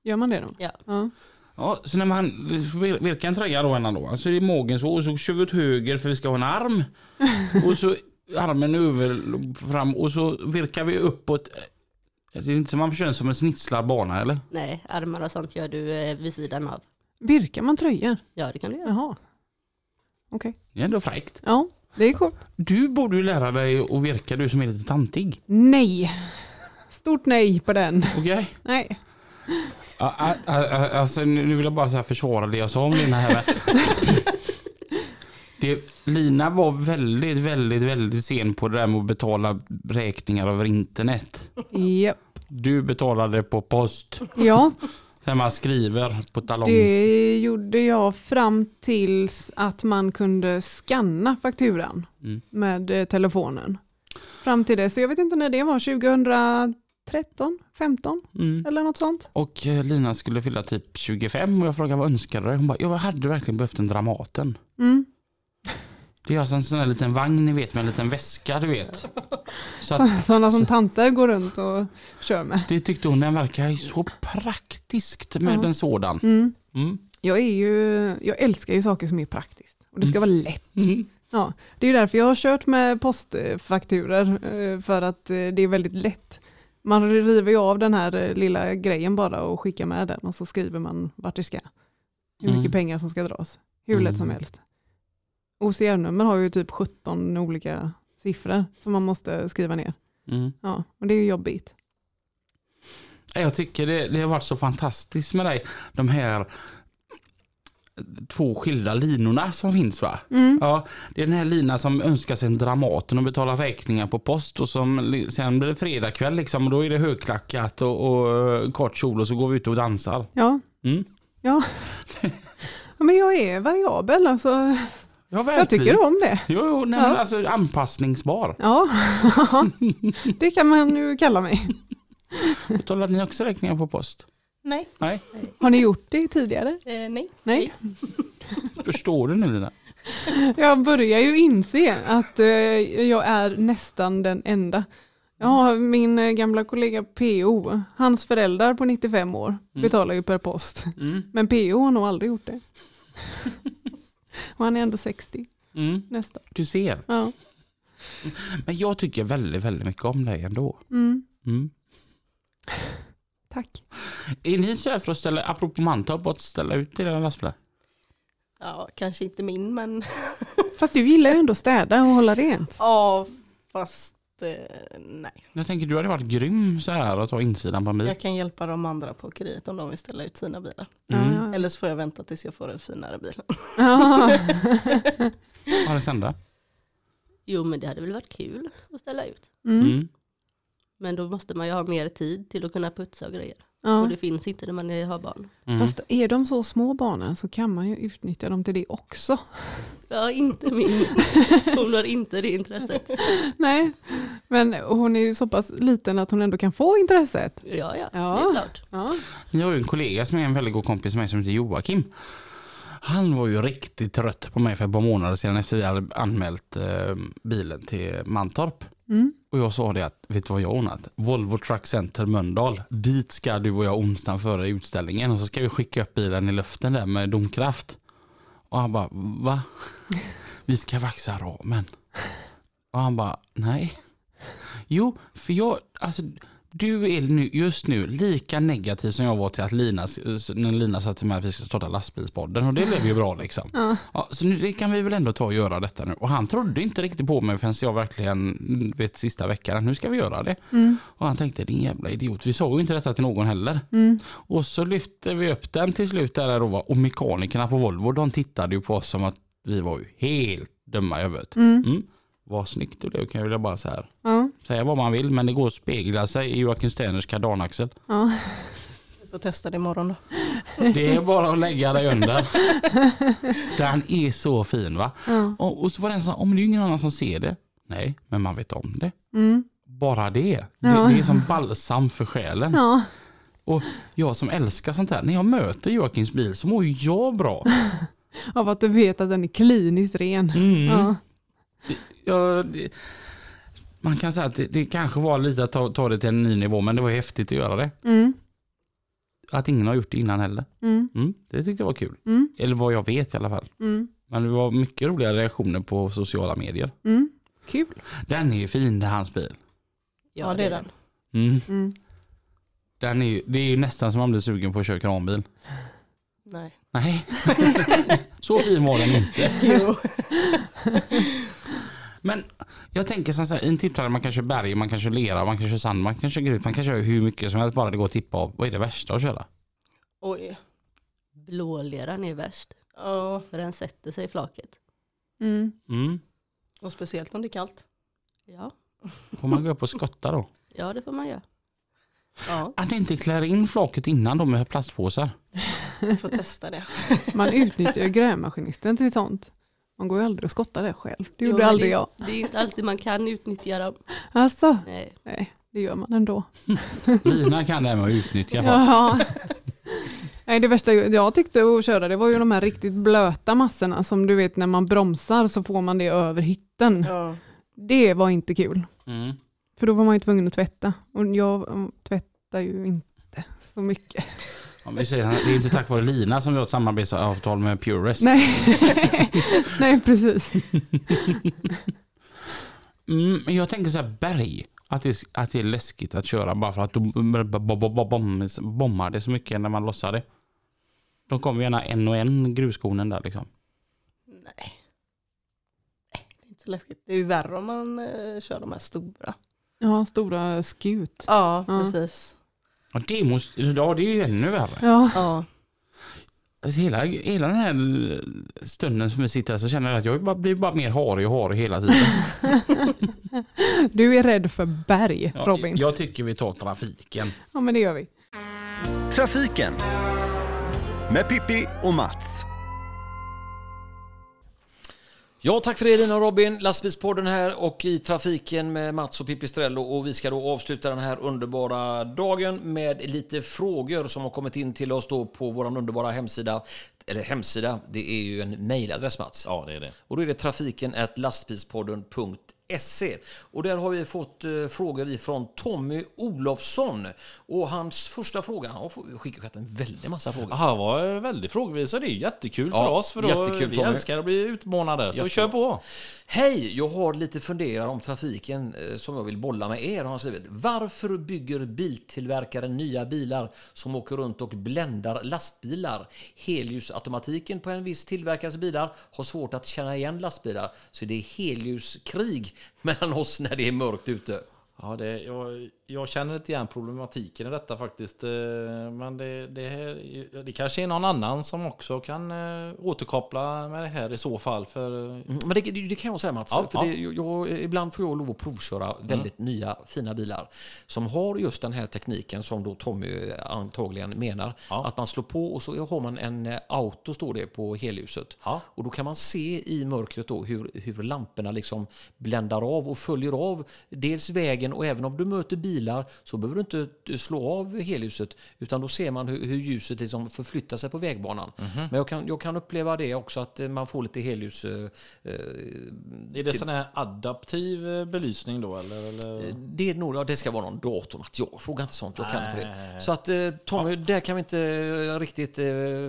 Speaker 1: Gör man det då?
Speaker 9: Ja.
Speaker 1: Ja.
Speaker 2: ja, så när man virkar en tröja då ena då. Så är det magen så och så kör vi åt höger för vi ska ha en arm. Och så armen över fram och så virkar vi uppåt. Det är inte som man kör som en snitslad bana eller?
Speaker 9: Nej, armar och sånt gör du eh, vid sidan av.
Speaker 1: Virkar man tröjor?
Speaker 9: Ja, det kan du göra.
Speaker 1: Jaha. Okej.
Speaker 2: Det är ändå fräckt.
Speaker 1: Ja, det är coolt.
Speaker 2: Du borde ju lära dig att virka du som är lite tantig.
Speaker 1: Nej. Stort nej på den.
Speaker 2: Okej?
Speaker 1: Nej.
Speaker 2: Ja, a- a- a- Alltså nu nu vill jag bara så här försvara det jag sa om Lina här. men- Det, Lina var väldigt, väldigt, väldigt sen på det där med att betala räkningar över internet.
Speaker 1: Japp.
Speaker 2: Du betalade på post,
Speaker 1: Ja,
Speaker 2: där man skriver på talong.
Speaker 1: det gjorde jag fram tills att man kunde scanna fakturan
Speaker 2: Mm.
Speaker 1: med eh, telefonen. Fram till det, så jag vet inte när det var, 2013, 15
Speaker 2: Mm.
Speaker 1: eller något sånt.
Speaker 2: Och eh, Lina skulle fylla typ 25 och jag frågade vad önskade du? Hon bara, jag hade verkligen behövt en Dramaten.
Speaker 1: Mm.
Speaker 2: Det är alltså en sån där liten vagn ni vet med en liten väska du vet. Så att
Speaker 1: Sådana som tanter går runt och kör med.
Speaker 2: det tyckte hon den verkar ju så praktiskt med
Speaker 1: Ja.
Speaker 2: en sådan.
Speaker 1: Mm.
Speaker 2: Mm.
Speaker 1: Jag, är ju, jag älskar ju saker som är praktiskt och det ska vara lätt.
Speaker 2: Mm.
Speaker 1: Ja, det är ju därför jag har kört med postfakturer eh, för att eh, det är väldigt lätt. Man river ju av den här eh, lilla grejen bara och skickar med den och så skriver man vart det ska. Hur mycket
Speaker 2: Mm.
Speaker 1: pengar som ska dras. Hur lätt som
Speaker 2: Mm.
Speaker 1: helst. OCR-nummer har ju typ 17 olika siffror som man måste skriva ner.
Speaker 2: Mm.
Speaker 1: Ja, och det är ju jobbigt.
Speaker 2: Jag tycker det, det har varit så fantastiskt med dig. De här två skilda linorna som finns va?
Speaker 1: Mm.
Speaker 2: Ja, det är den här linan som önskar sig en Dramaten och betalar räkningar på post och som, li- sen blir det fredag kväll liksom och då är det högklackat och, och eh, kort kjol och så går vi ut och dansar.
Speaker 1: Ja.
Speaker 2: Mm.
Speaker 1: Ja. ja, men jag är variabel alltså.
Speaker 2: Ja,
Speaker 1: Jag
Speaker 2: verkligen.
Speaker 1: tycker om det.
Speaker 2: Jo, jo nej, men
Speaker 1: Ja.
Speaker 2: alltså anpassningsbar.
Speaker 1: Ja, det kan man ju kalla mig.
Speaker 2: Betalar ni också räkningar på post?
Speaker 8: Nej.
Speaker 2: Nej,
Speaker 1: Har ni gjort det tidigare?
Speaker 8: Eh, nej.
Speaker 1: Nej.
Speaker 2: förstår du nu Lina?
Speaker 1: Jag börjar ju inse att eh, jag är nästan den enda. Jag har min eh, gamla kollega PO, hans föräldrar på 95 år betalar ju per post.
Speaker 2: Mm.
Speaker 1: Men PO har nog aldrig gjort det. Och han är ändå 60
Speaker 2: Mm.
Speaker 1: nästan.
Speaker 2: Du ser.
Speaker 1: Ja.
Speaker 2: Men jag tycker väldigt, väldigt mycket om dig ändå.
Speaker 1: Mm.
Speaker 2: Mm.
Speaker 1: Tack.
Speaker 2: Är ni kära för att ställa, apropå Mantorp, att ställa ut era lastbilar?
Speaker 8: Ja, kanske inte min men.
Speaker 1: Fast du gillar ju ändå att städa och hålla rent.
Speaker 8: Ja, fast eh, nej.
Speaker 2: Jag tänker du hade varit grym så här att ta insidan på en bil.
Speaker 8: Jag kan hjälpa de andra på åkeriet om de vill ställa ut sina bilar.
Speaker 2: Mm.
Speaker 1: Ja, ja.
Speaker 8: Eller så får jag vänta tills jag får en finare bil.
Speaker 1: Ja.
Speaker 2: Alexandra?
Speaker 9: Jo men det hade väl varit kul att ställa ut.
Speaker 1: Mm.
Speaker 2: Mm.
Speaker 9: Men då måste man ju ha mer tid till att kunna putsa och grejer. Och
Speaker 1: Ja.
Speaker 9: det finns inte när man är- har barn.
Speaker 2: Mm.
Speaker 1: Fast är de så små barnen så kan man ju utnyttja dem till det också.
Speaker 9: Ja, inte min. Hon har inte det intresset.
Speaker 1: Nej, men hon är ju så pass liten att hon ändå kan få intresset.
Speaker 9: Ja, ja, det
Speaker 1: Ja.
Speaker 9: är klart.
Speaker 1: Ja.
Speaker 2: Ni har ju en kollega som är en väldigt god kompis med mig som heter Joakim. Han var ju riktigt trött på mig för ett par månader sedan efter vi hade anmält eh, bilen till Mantorp.
Speaker 1: Mm.
Speaker 2: Och jag sa det att, vet du vad jag har ordnat? Volvo Truck Center Mölndal. Dit ska du och jag onsdagen före utställningen och så ska vi skicka upp bilen i luften där med domkraft. Och han bara, va? Vi ska vaxa ramen. Och han bara, nej. Jo, för jag, alltså du är nu, just nu lika negativ som jag var till att Lina, när Lina sa till mig att vi ska starta lastbilspodden och det blev ju bra liksom. Ja, så nu, det kan vi väl ändå ta och göra detta nu. Och han trodde inte riktigt på mig förrän jag verkligen, vet sista veckan, nu ska vi göra det.
Speaker 1: Mm.
Speaker 2: Och han tänkte din jävla idiot, vi sa ju inte detta till någon heller.
Speaker 1: Mm.
Speaker 2: Och så lyfte vi upp den till slut där då va? och mekanikerna på Volvo de tittade ju på oss som att vi var ju helt dumma i huvudet. Mm. Vad snyggt du blev kan jag vilja bara så här.
Speaker 1: Ja.
Speaker 2: Säga vad man vill men det går att spegla sig i Joakim Sterners kardanaxel.
Speaker 1: Ja.
Speaker 8: Vi får testa det imorgon då.
Speaker 2: Det är bara att lägga dig under. Den är så fin va? Och, och så var det en sån, om det är ingen annan som ser det. Nej, men man vet om det.
Speaker 1: Mm.
Speaker 2: Bara det.
Speaker 1: Ja.
Speaker 2: Det, det är som balsam för själen.
Speaker 1: ja,
Speaker 2: Och jag som älskar sånt här, när jag möter Joakims bil så mår ju jag bra.
Speaker 1: av att du vet att den är kliniskt ren.
Speaker 2: Mm.
Speaker 1: Ja.
Speaker 2: Jag, det, man kan säga att det, det kanske var lite att ta, ta det till en ny nivå, men det var ju häftigt att göra det.
Speaker 1: Mm.
Speaker 2: Att ingen har gjort det innan heller.
Speaker 1: Mm.
Speaker 2: Mm, det tyckte jag var kul.
Speaker 1: Mm.
Speaker 2: Eller vad jag vet i alla fall.
Speaker 1: Mm.
Speaker 2: Men det var mycket roliga reaktioner på sociala medier.
Speaker 1: Mm. Kul.
Speaker 2: Den är ju fin, det är hans bil.
Speaker 9: Ja, det är den.
Speaker 2: Mm.
Speaker 1: Mm.
Speaker 2: Den är, ju- det är ju nästan som man blir sugen på att köra kranbil.
Speaker 8: Nej.
Speaker 2: Nej, så fin var den inte.
Speaker 8: Jo.
Speaker 2: Men jag tänker som så här, i en tipptävling man kan köra berg, man kan köra lera, man kan köra sand, man kan köra grus, man kan köra hur mycket som helst bara det går att tippa av. Vad är det värsta att köra?
Speaker 8: Oj.
Speaker 9: Blåleran är värst,
Speaker 8: Ja,
Speaker 9: för den sätter sig i flaket.
Speaker 1: Mm.
Speaker 2: Mm.
Speaker 8: och speciellt om det är kallt.
Speaker 9: Ja,
Speaker 2: Får man gå upp och skotta då?
Speaker 9: ja det får man göra.
Speaker 8: Ja,
Speaker 2: Att inte klär in flaket innan de med plastpåsar.
Speaker 8: vi får testa det.
Speaker 1: Man utnyttjar ju grävmaskinisten till sånt. Man går ju aldrig och skottar det själv. Det
Speaker 9: Jo,
Speaker 1: gjorde
Speaker 9: men
Speaker 1: aldrig
Speaker 9: det,
Speaker 1: jag.
Speaker 9: Det är inte alltid man kan utnyttja dem.
Speaker 1: Alltså,
Speaker 9: Nej.
Speaker 1: nej, det gör man ändå.
Speaker 2: Lina kan det här med att utnyttja folk.
Speaker 1: Ja. Nej, det värsta jag tyckte att köra det var ju de här riktigt blöta massorna som du vet när man bromsar så får man det över hytten.
Speaker 8: Ja.
Speaker 1: Det var inte kul.
Speaker 2: Mm.
Speaker 1: För då var man ju tvungen att tvätta. Och jag mm, tvättar ju inte så mycket.
Speaker 2: Om vi säger, det är inte tack vare Lina som vi har ett samarbetsavtal med Purest.
Speaker 1: Nej, Nej precis.
Speaker 2: Mm, men jag tänker så här berg. Att det, att det är läskigt att köra bara för att de bommar det så mycket när man lossar det. De kommer gärna en och en gruskornen där liksom.
Speaker 8: Nej. Nej, det är inte så läskigt. Det är ju värre om man eh, kör de här stora.
Speaker 1: Ja, stora skut.
Speaker 8: Ja,
Speaker 1: Ja.
Speaker 8: precis.
Speaker 2: Ja det, måste, ja, det är ju ännu värre.
Speaker 1: Ja,
Speaker 8: Ja.
Speaker 2: alltså hela, hela den här stunden som vi sitter här så känner jag att jag bara, blir bara mer harig och harig hela tiden.
Speaker 1: Du är rädd för berg,
Speaker 2: Ja,
Speaker 1: Robin.
Speaker 2: Jag tycker vi tar trafiken.
Speaker 1: Ja, men det gör vi.
Speaker 5: Trafiken med Pippi och Mats.
Speaker 6: Ja, tack för det Elina och Robin. Lastbilspodden här och i trafiken med Mats och Pippi Strello. Och vi ska då avsluta den här underbara dagen med lite frågor som har kommit in till oss då på vår underbara hemsida. Eller hemsida, det är ju en mejladress Mats.
Speaker 7: Ja, det är det.
Speaker 6: Och då är det trafiken at lastbilspodden.se. E. Och där har vi fått eh, frågor ifrån Tommy Olofsson. Och hans första fråga, han har skickat en väldig massa frågor.
Speaker 7: Han var eh, väldigt frågvis och det är jättekul
Speaker 6: Ja,
Speaker 7: för oss för då
Speaker 6: jättekul,
Speaker 7: vi
Speaker 6: Tommy.
Speaker 7: älskar att bli utmanade. Så kör på!
Speaker 6: Hej, jag har lite funderingar om trafiken eh, som jag vill bolla med er. Har han skrivit. Varför bygger biltillverkaren nya bilar som åker runt och bländar lastbilar? Helljusautomatiken på en viss tillverkares bilar har svårt att känna igen lastbilar, så det är helljuskrig mellan oss när det är mörkt ute.
Speaker 7: Ja, det, jag, jag känner inte igen problematiken i detta faktiskt. eh, Men det, det, här, det kanske är någon annan som också kan eh, återkoppla med det här i så fall. För eh,
Speaker 6: Mm, Men det, det det kan jag säga Mats.
Speaker 7: Ja,
Speaker 6: för
Speaker 7: ja. Mm.
Speaker 6: Det, jag, jag, ibland får jag lov att provköra väldigt nya fina bilar som har just den här tekniken som då Tommy eh, antagligen menar.
Speaker 7: Ja.
Speaker 6: Att man slår på och så har man en eh, auto står det på helljuset.
Speaker 7: Ja.
Speaker 6: Och då kan man se i mörkret då hur, hur lamporna liksom bländar av och följer av dels vägen och även om du möter bilar så behöver du inte eh, slå av helljuset utan då ser man hur, hur ljuset liksom förflyttar sig på vägbanan.
Speaker 7: Mhm.
Speaker 6: Men jag kan, jag kan uppleva det också att eh, man får lite helljus eh,
Speaker 7: är
Speaker 6: typ.
Speaker 7: det sån här adaptiv eh, belysning då? Eller, eller?
Speaker 6: Det, är nog, ja, det ska vara någon dator. Att jag frågar inte sånt, jag kan inte det. Så att eh, Tommy, där kan vi inte eh, riktigt eh,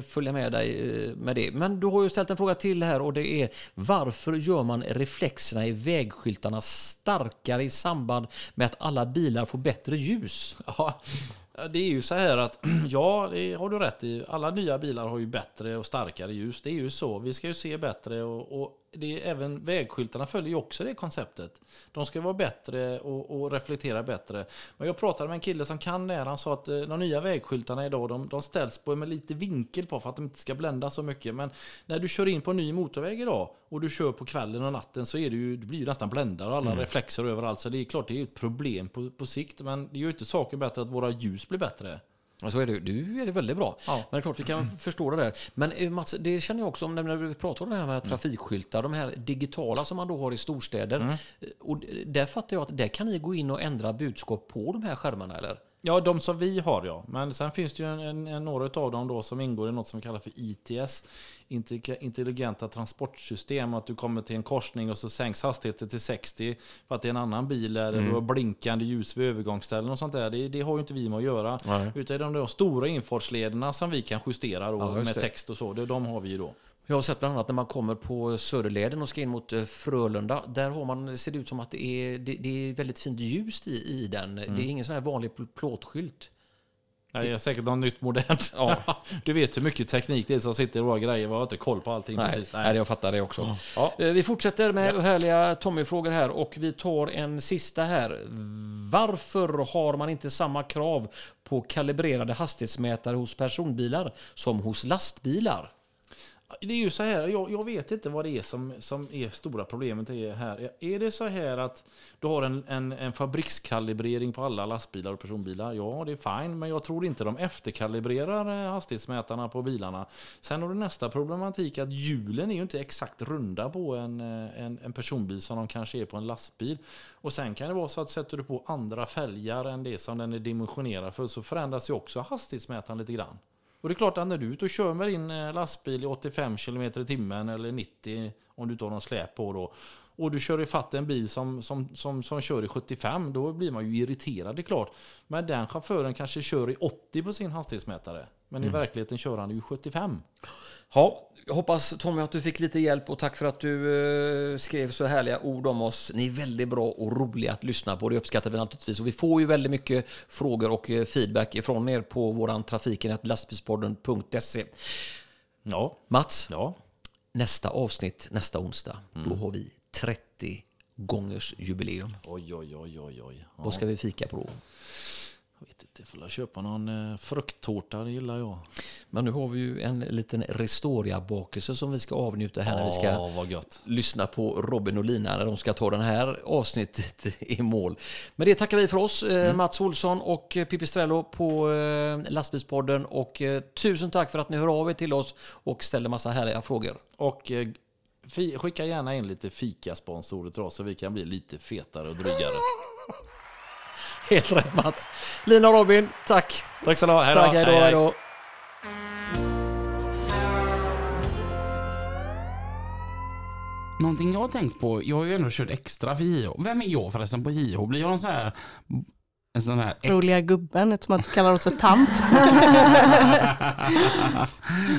Speaker 6: följa med dig eh, med det. Men du har ju ställt en fråga till här och det är varför gör man reflexerna i vägskyltarna starkare i samband med att alla bilar får bättre ljus?
Speaker 7: Ja, det är ju så här att, ja, det har du rätt i. Alla nya bilar har ju bättre och starkare ljus. Det är ju så. Vi ska ju se bättre och, och det är även vägskyltarna följer ju också det konceptet. De ska vara bättre och, och reflektera bättre. Men jag pratade med en kille som kan det här. Han sa att eh, de nya vägskyltarna idag, de, de ställs på med lite vinkel på för att de inte ska blända så mycket. Men när du kör in på en ny motorväg idag och du kör på kvällen och natten så är det ju, det blir ju nästan bländare och alla reflexer överallt. Så det är klart det är ett problem på, på sikt. Men det gör ju inte saken bättre att våra ljus blir bättre.
Speaker 6: Ja, Så är det, du är det väldigt bra.
Speaker 7: Ja.
Speaker 6: Men det är klart, vi kan förstå det där. Men eh, Mats, det känner jag också om när vi pratar om det här med trafikskyltar, de här digitala som man då har i storstäder. Eh, Och där fattar jag att där kan ni gå in och ändra budskap på de här skärmarna, eller?
Speaker 7: Ja, de som vi har ja. Men sen finns det ju en, en, en, några av dem då som ingår i något som vi kallar för ITS, Intelli- intelligenta transportsystem. Att du kommer till en korsning och så sänks hastigheten till 60 för att det är en annan bil
Speaker 6: Mm.
Speaker 7: eller du har blinkande ljus vid övergångsställen och sånt där. Det, det har ju inte vi med att göra.
Speaker 6: Nej.
Speaker 7: Utan det är de där stora infartslederna som vi kan justera då,
Speaker 6: Ja, just
Speaker 7: med
Speaker 6: det.
Speaker 7: text och så. Det, de har vi ju då.
Speaker 6: Jag har sett bland annat när man kommer på Söderleden och ska in mot eh, Frölunda. Där har man, ser det ut som att det är, det, det är väldigt fint ljus i, i den. Det är ingen sån här vanlig pl- plåtskylt.
Speaker 7: Det är säkert något nytt modernt.
Speaker 6: Ja.
Speaker 7: Du vet hur mycket teknik det är som sitter i våra grejer. Vi har inte koll på allting
Speaker 6: Nej,
Speaker 7: precis.
Speaker 6: nej. jag fattar det också. Eh, Vi fortsätter med härliga Tommy-frågor här och vi tar en sista här. Varför har man inte samma krav på kalibrerade hastighetsmätare hos personbilar som hos lastbilar?
Speaker 7: Det är ju så här, jag, jag vet inte vad det är som, som är stora problemet är här. Är det så här att du har en, en, en fabrikskalibrering på alla lastbilar och personbilar? Ja, det är fine, men jag tror inte de efterkalibrerar eh, hastighetsmätarna på bilarna. Sen har du nästa problematik att hjulen är ju inte exakt runda på en, eh, en, en personbil som de kanske är på en lastbil. Och sen kan det vara så att sätter du på andra fälgar än det som den är dimensionerad för så förändras ju också hastighetsmätaren lite grann. Och det är klart att när du är ute och kör med din eh, lastbil i 85 km i timmen eller 90 om du inte har någon släp på då och du kör ifatt en bil som, som, som, som kör i 75 då blir man ju irriterad det är klart. Men den chauffören kanske kör i 80 på sin hastighetsmätare. Men i verkligheten kör han ju 75.
Speaker 6: Ja, jag hoppas Tommy att du fick lite hjälp och tack för att du eh, skrev så härliga ord om oss. Ni är väldigt bra och roliga att lyssna på, det uppskattar vi naturligtvis. Och vi får ju väldigt mycket frågor och eh, feedback ifrån er på våran trafiken lastbilspodden.se.
Speaker 7: Ja,
Speaker 6: Mats,
Speaker 7: ja.
Speaker 6: nästa avsnitt nästa onsdag, då har vi 30 gångers jubileum.
Speaker 7: Oj, oj, oj, oj, oj. Ja.
Speaker 6: Vad ska vi fika på då?
Speaker 7: Jag vet inte, får jag köpa någon eh, frukttårta, det gillar jag.
Speaker 6: Men nu har vi ju en liten Restoria-bakelse som vi ska avnjuta här när vi ska
Speaker 7: Åh, vad gött.
Speaker 6: lyssna på Robin och Lina när de ska ta det här avsnittet i mål. Men det tackar vi för oss, eh, Mats Olsson och eh, Pippi Strello på eh, Lastbilspodden. Och eh, tusen tack för att ni hör av er till oss och ställer massa härliga frågor.
Speaker 7: Och eh, fi- skicka gärna in lite fikasponsorer till oss så vi kan bli lite fetare och drygare.
Speaker 6: Helt rätt Mats. Lina och Robin, tack.
Speaker 7: Tack ska ni ha, hej då.
Speaker 6: Tack, hej då, hej då.
Speaker 2: Någonting jag har tänkt på, jag har ju ändå kört extra för JH. Vem är jag förresten på JH? Blir jag någon sån här... En sån här... Ex...
Speaker 8: Roliga gubben, eftersom man kallar oss för tant.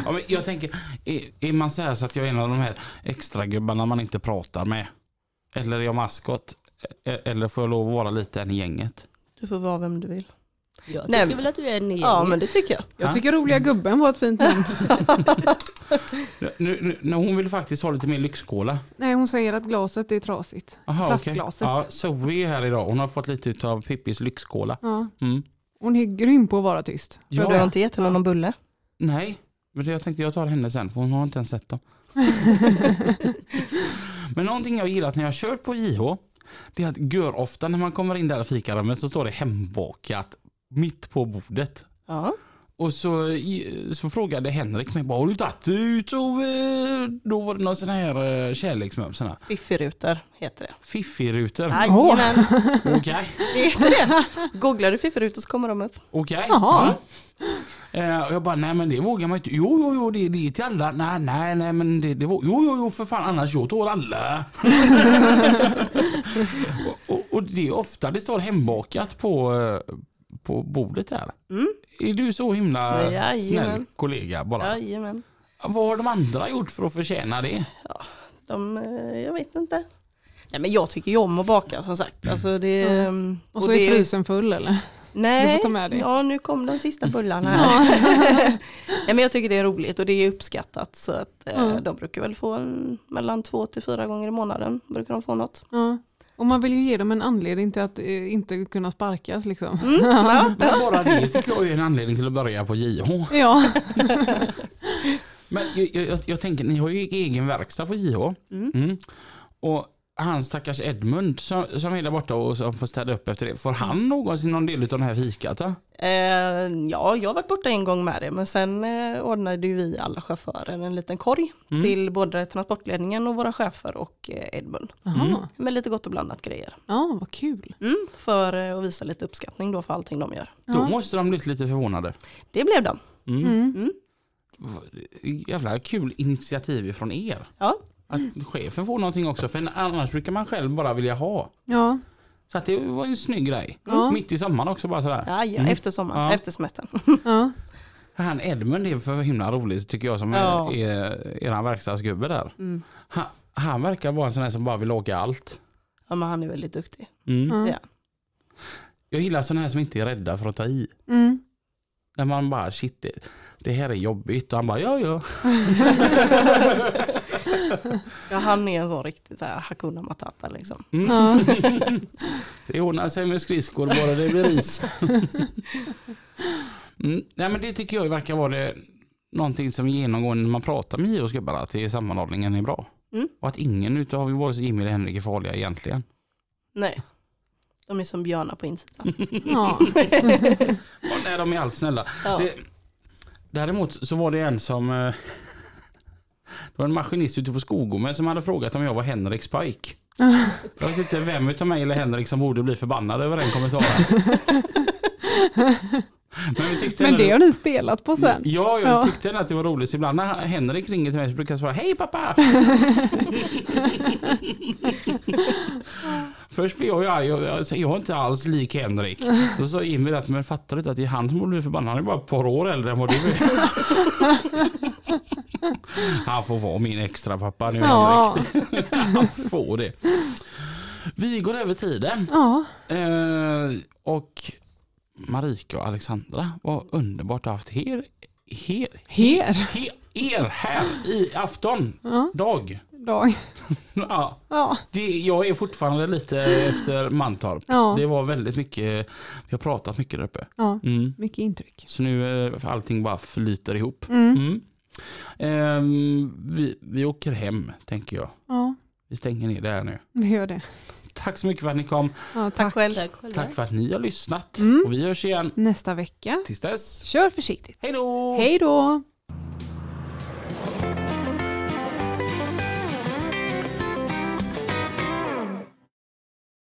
Speaker 2: ja, men jag tänker, är, är man så här så att jag är en av de här extra gubbarna man inte pratar med? Eller är jag maskot? E- Eller får jag lov att vara lite en i gänget?
Speaker 8: Du får vara vem du vill.
Speaker 9: Jag tycker
Speaker 8: Nej, men-
Speaker 9: väl att du är en
Speaker 8: Ja,
Speaker 9: ja,
Speaker 8: men det tycker jag.
Speaker 1: Jag tycker roliga gubben var ett fint namn.
Speaker 2: Nu, nu, nu, hon vill faktiskt ha lite mer lyxkola.
Speaker 1: Nej, hon säger att glaset är trasigt.
Speaker 2: Aha,
Speaker 1: Plastglaset.
Speaker 2: okej. Ja, Zoe är här idag. Hon har fått lite av Pippis lyxkola.
Speaker 1: Ja.
Speaker 2: Mm.
Speaker 1: Hon är grym på att vara tyst.
Speaker 2: Ja.
Speaker 8: Du har inte gett henne någon bulle.
Speaker 2: Nej, men det jag tänkte jag tar henne sen för hon har inte ens sett dem. men någonting jag gillat när jag har kört på JH, det är att gör ofta när man kommer in där i fikarummet så står det hembakat mitt på bordet.
Speaker 8: Ja.
Speaker 2: Och så, så frågade Henrik mig, bara, har du tagit ut? Och eh, då var det någon sån här eh, kärleksmums, sån här
Speaker 8: Fiffirutor heter det.
Speaker 2: fiffirutor.
Speaker 8: Jajamän,
Speaker 2: Okej,
Speaker 8: det heter det. Googlar du fiffirutor så kommer de upp.
Speaker 2: okej.
Speaker 1: Jaha.
Speaker 2: Eh, och jag bara, nej men det vågar man inte. Jo, jo, jo, det, det är till alla. Nej, nej, nej, men det, det vå- Jo, jo, jo, för fan annars jag tar alla. och, och, och det är ofta det står hembakat på, eh, på bordet här. Är du så himla
Speaker 8: Jajamän.
Speaker 2: snäll kollega bara?
Speaker 8: Jajamän.
Speaker 2: Vad har de andra gjort för att förtjäna det?
Speaker 8: De, eh, jag vet inte. Nej men jag tycker ju om att baka som sagt. Alltså det, ehm,
Speaker 1: Och så
Speaker 8: det-
Speaker 1: är frysen full eller?
Speaker 8: Nej,
Speaker 1: Du får ta med dig.
Speaker 8: Ja, nu kom de sista bullarna här. Nej, men jag tycker det är roligt och det är uppskattat. Så att, eh,
Speaker 1: Ja.
Speaker 8: De brukar väl få en, mellan två till fyra gånger i månaden. Brukar de få något.
Speaker 1: Ja. Och man vill ju ge dem en anledning till att eh, inte kunna sparkas liksom.
Speaker 8: Mm,
Speaker 2: Men bara det tycker jag är en anledning till att börja på JH.
Speaker 1: Ja.
Speaker 2: Men jag, jag, jag, jag tänker, ni har ju egen verkstad på JH. Mm. Och han stackars Edmund som, som är där borta och som får städa upp efter det. Får han någonsin någon del av det här fikat? va?
Speaker 8: Eh, ja, jag har varit borta en gång med det, men sen eh, ordnade ju vi alla chaufförer en liten korg
Speaker 1: Mm.
Speaker 2: Mm.
Speaker 8: till både transportledningen och våra chefer och eh, Edmund.
Speaker 1: Jaha.
Speaker 8: Med lite gott och blandat grejer.
Speaker 1: ja, vad kul.
Speaker 8: Mm, för eh, att visa lite uppskattning då för allting de gör.
Speaker 2: Då måste de blivit lite förvånade. Mm.
Speaker 8: Det blev de.
Speaker 1: Mm.
Speaker 8: Mm.
Speaker 2: Jävla kul initiativ från er.
Speaker 8: Ja.
Speaker 2: Att chefen får någonting också, för annars brukar man själv bara vilja ha.
Speaker 1: Ja,
Speaker 2: Så att det var ju en snygg grej.
Speaker 1: Ja.
Speaker 2: Mitt i sommaren också bara sådär.
Speaker 8: Ja,
Speaker 1: Mm.
Speaker 8: ja, Efter sommaren,
Speaker 2: Ja.
Speaker 8: efter semestern.
Speaker 1: ja.
Speaker 2: Han Edmund är för himla rolig tycker jag som är,
Speaker 8: Ja.
Speaker 2: är eran verkstadsgubbe där.
Speaker 1: Mm.
Speaker 2: Han, han verkar vara en sån här som bara vill åka allt.
Speaker 8: Ja, men han är väldigt duktig.
Speaker 2: Mm.
Speaker 1: Ja.
Speaker 8: Ja.
Speaker 2: Jag gillar sådana här som inte är rädda för att ta i.
Speaker 1: Mm.
Speaker 2: När man bara shit det, det här är jobbigt och han bara ja ja.
Speaker 8: Ja, han är en sån riktig så här Hakuna Matata liksom.
Speaker 1: ja.
Speaker 2: Mm. Det ordnar sig med skridskor bara det blir is. mm. Nej men det tycker jag verkar vara det, någonting som genomgående när man pratar med JOs gubbar att det är sammanhållningen är bra.
Speaker 8: Mm.
Speaker 2: Och att ingen utav vare sig Jimmy eller Henrik är farliga egentligen.
Speaker 8: Nej, de är som björnar på insidan.
Speaker 1: ja.
Speaker 2: Och nej de är allt snälla.
Speaker 8: Ja.
Speaker 2: Det, däremot så var det en som eh, Det var en maskinist ute på Skogome som hade frågat om jag var Henrik Spike. Jag vet inte vem utav mig eller Henrik som borde bli förbannad över den kommentaren. Men, vi tyckte
Speaker 1: Men
Speaker 2: ändå-
Speaker 1: det har ni spelat på sen.
Speaker 2: Ja, Mm, jag
Speaker 1: Ja.
Speaker 2: tyckte ändå att det var roligt. Så Ibland när Henrik ringer till mig så brukar jag svara Hej pappa! Först blev jag ju arg och jag sa, jag är inte alls lik Henrik. Då sa Jimmy att men fattar du inte att det är han som borde bli förbannad. Han är bara ett par år äldre än vad du är. Han får vara min extra pappa nu
Speaker 1: Ja.
Speaker 2: Henrik. Han får det. Vi går över tiden.
Speaker 1: Ja.
Speaker 2: Eh, och Marika och Alexandra, vad underbart att ha haft er, her,
Speaker 1: Her.
Speaker 2: he, er här i afton. Dag.
Speaker 1: dag.
Speaker 2: Ja,
Speaker 1: Ja,
Speaker 2: det, jag är fortfarande lite efter Mantorp.
Speaker 1: Ja.
Speaker 2: Det var väldigt mycket, vi har pratat mycket där uppe.
Speaker 1: ja.
Speaker 2: Mm.
Speaker 1: mycket intryck.
Speaker 2: Så nu eh, allting bara flyter ihop.
Speaker 1: Mm.
Speaker 2: Mm. Ehm, vi, vi åker hem tänker jag.
Speaker 1: Ja,
Speaker 2: Vi stänger ner det här nu.
Speaker 1: vi gör det.
Speaker 2: Tack så mycket för att ni kom.
Speaker 1: Ja, tack.
Speaker 8: Tack själv.
Speaker 9: Tack själva.
Speaker 2: Tack för att ni har lyssnat.
Speaker 1: Mm.
Speaker 2: Och vi hörs igen.
Speaker 1: Nästa vecka,
Speaker 2: Tills dess.
Speaker 1: kör försiktigt.
Speaker 2: Hej då!
Speaker 1: Hej då!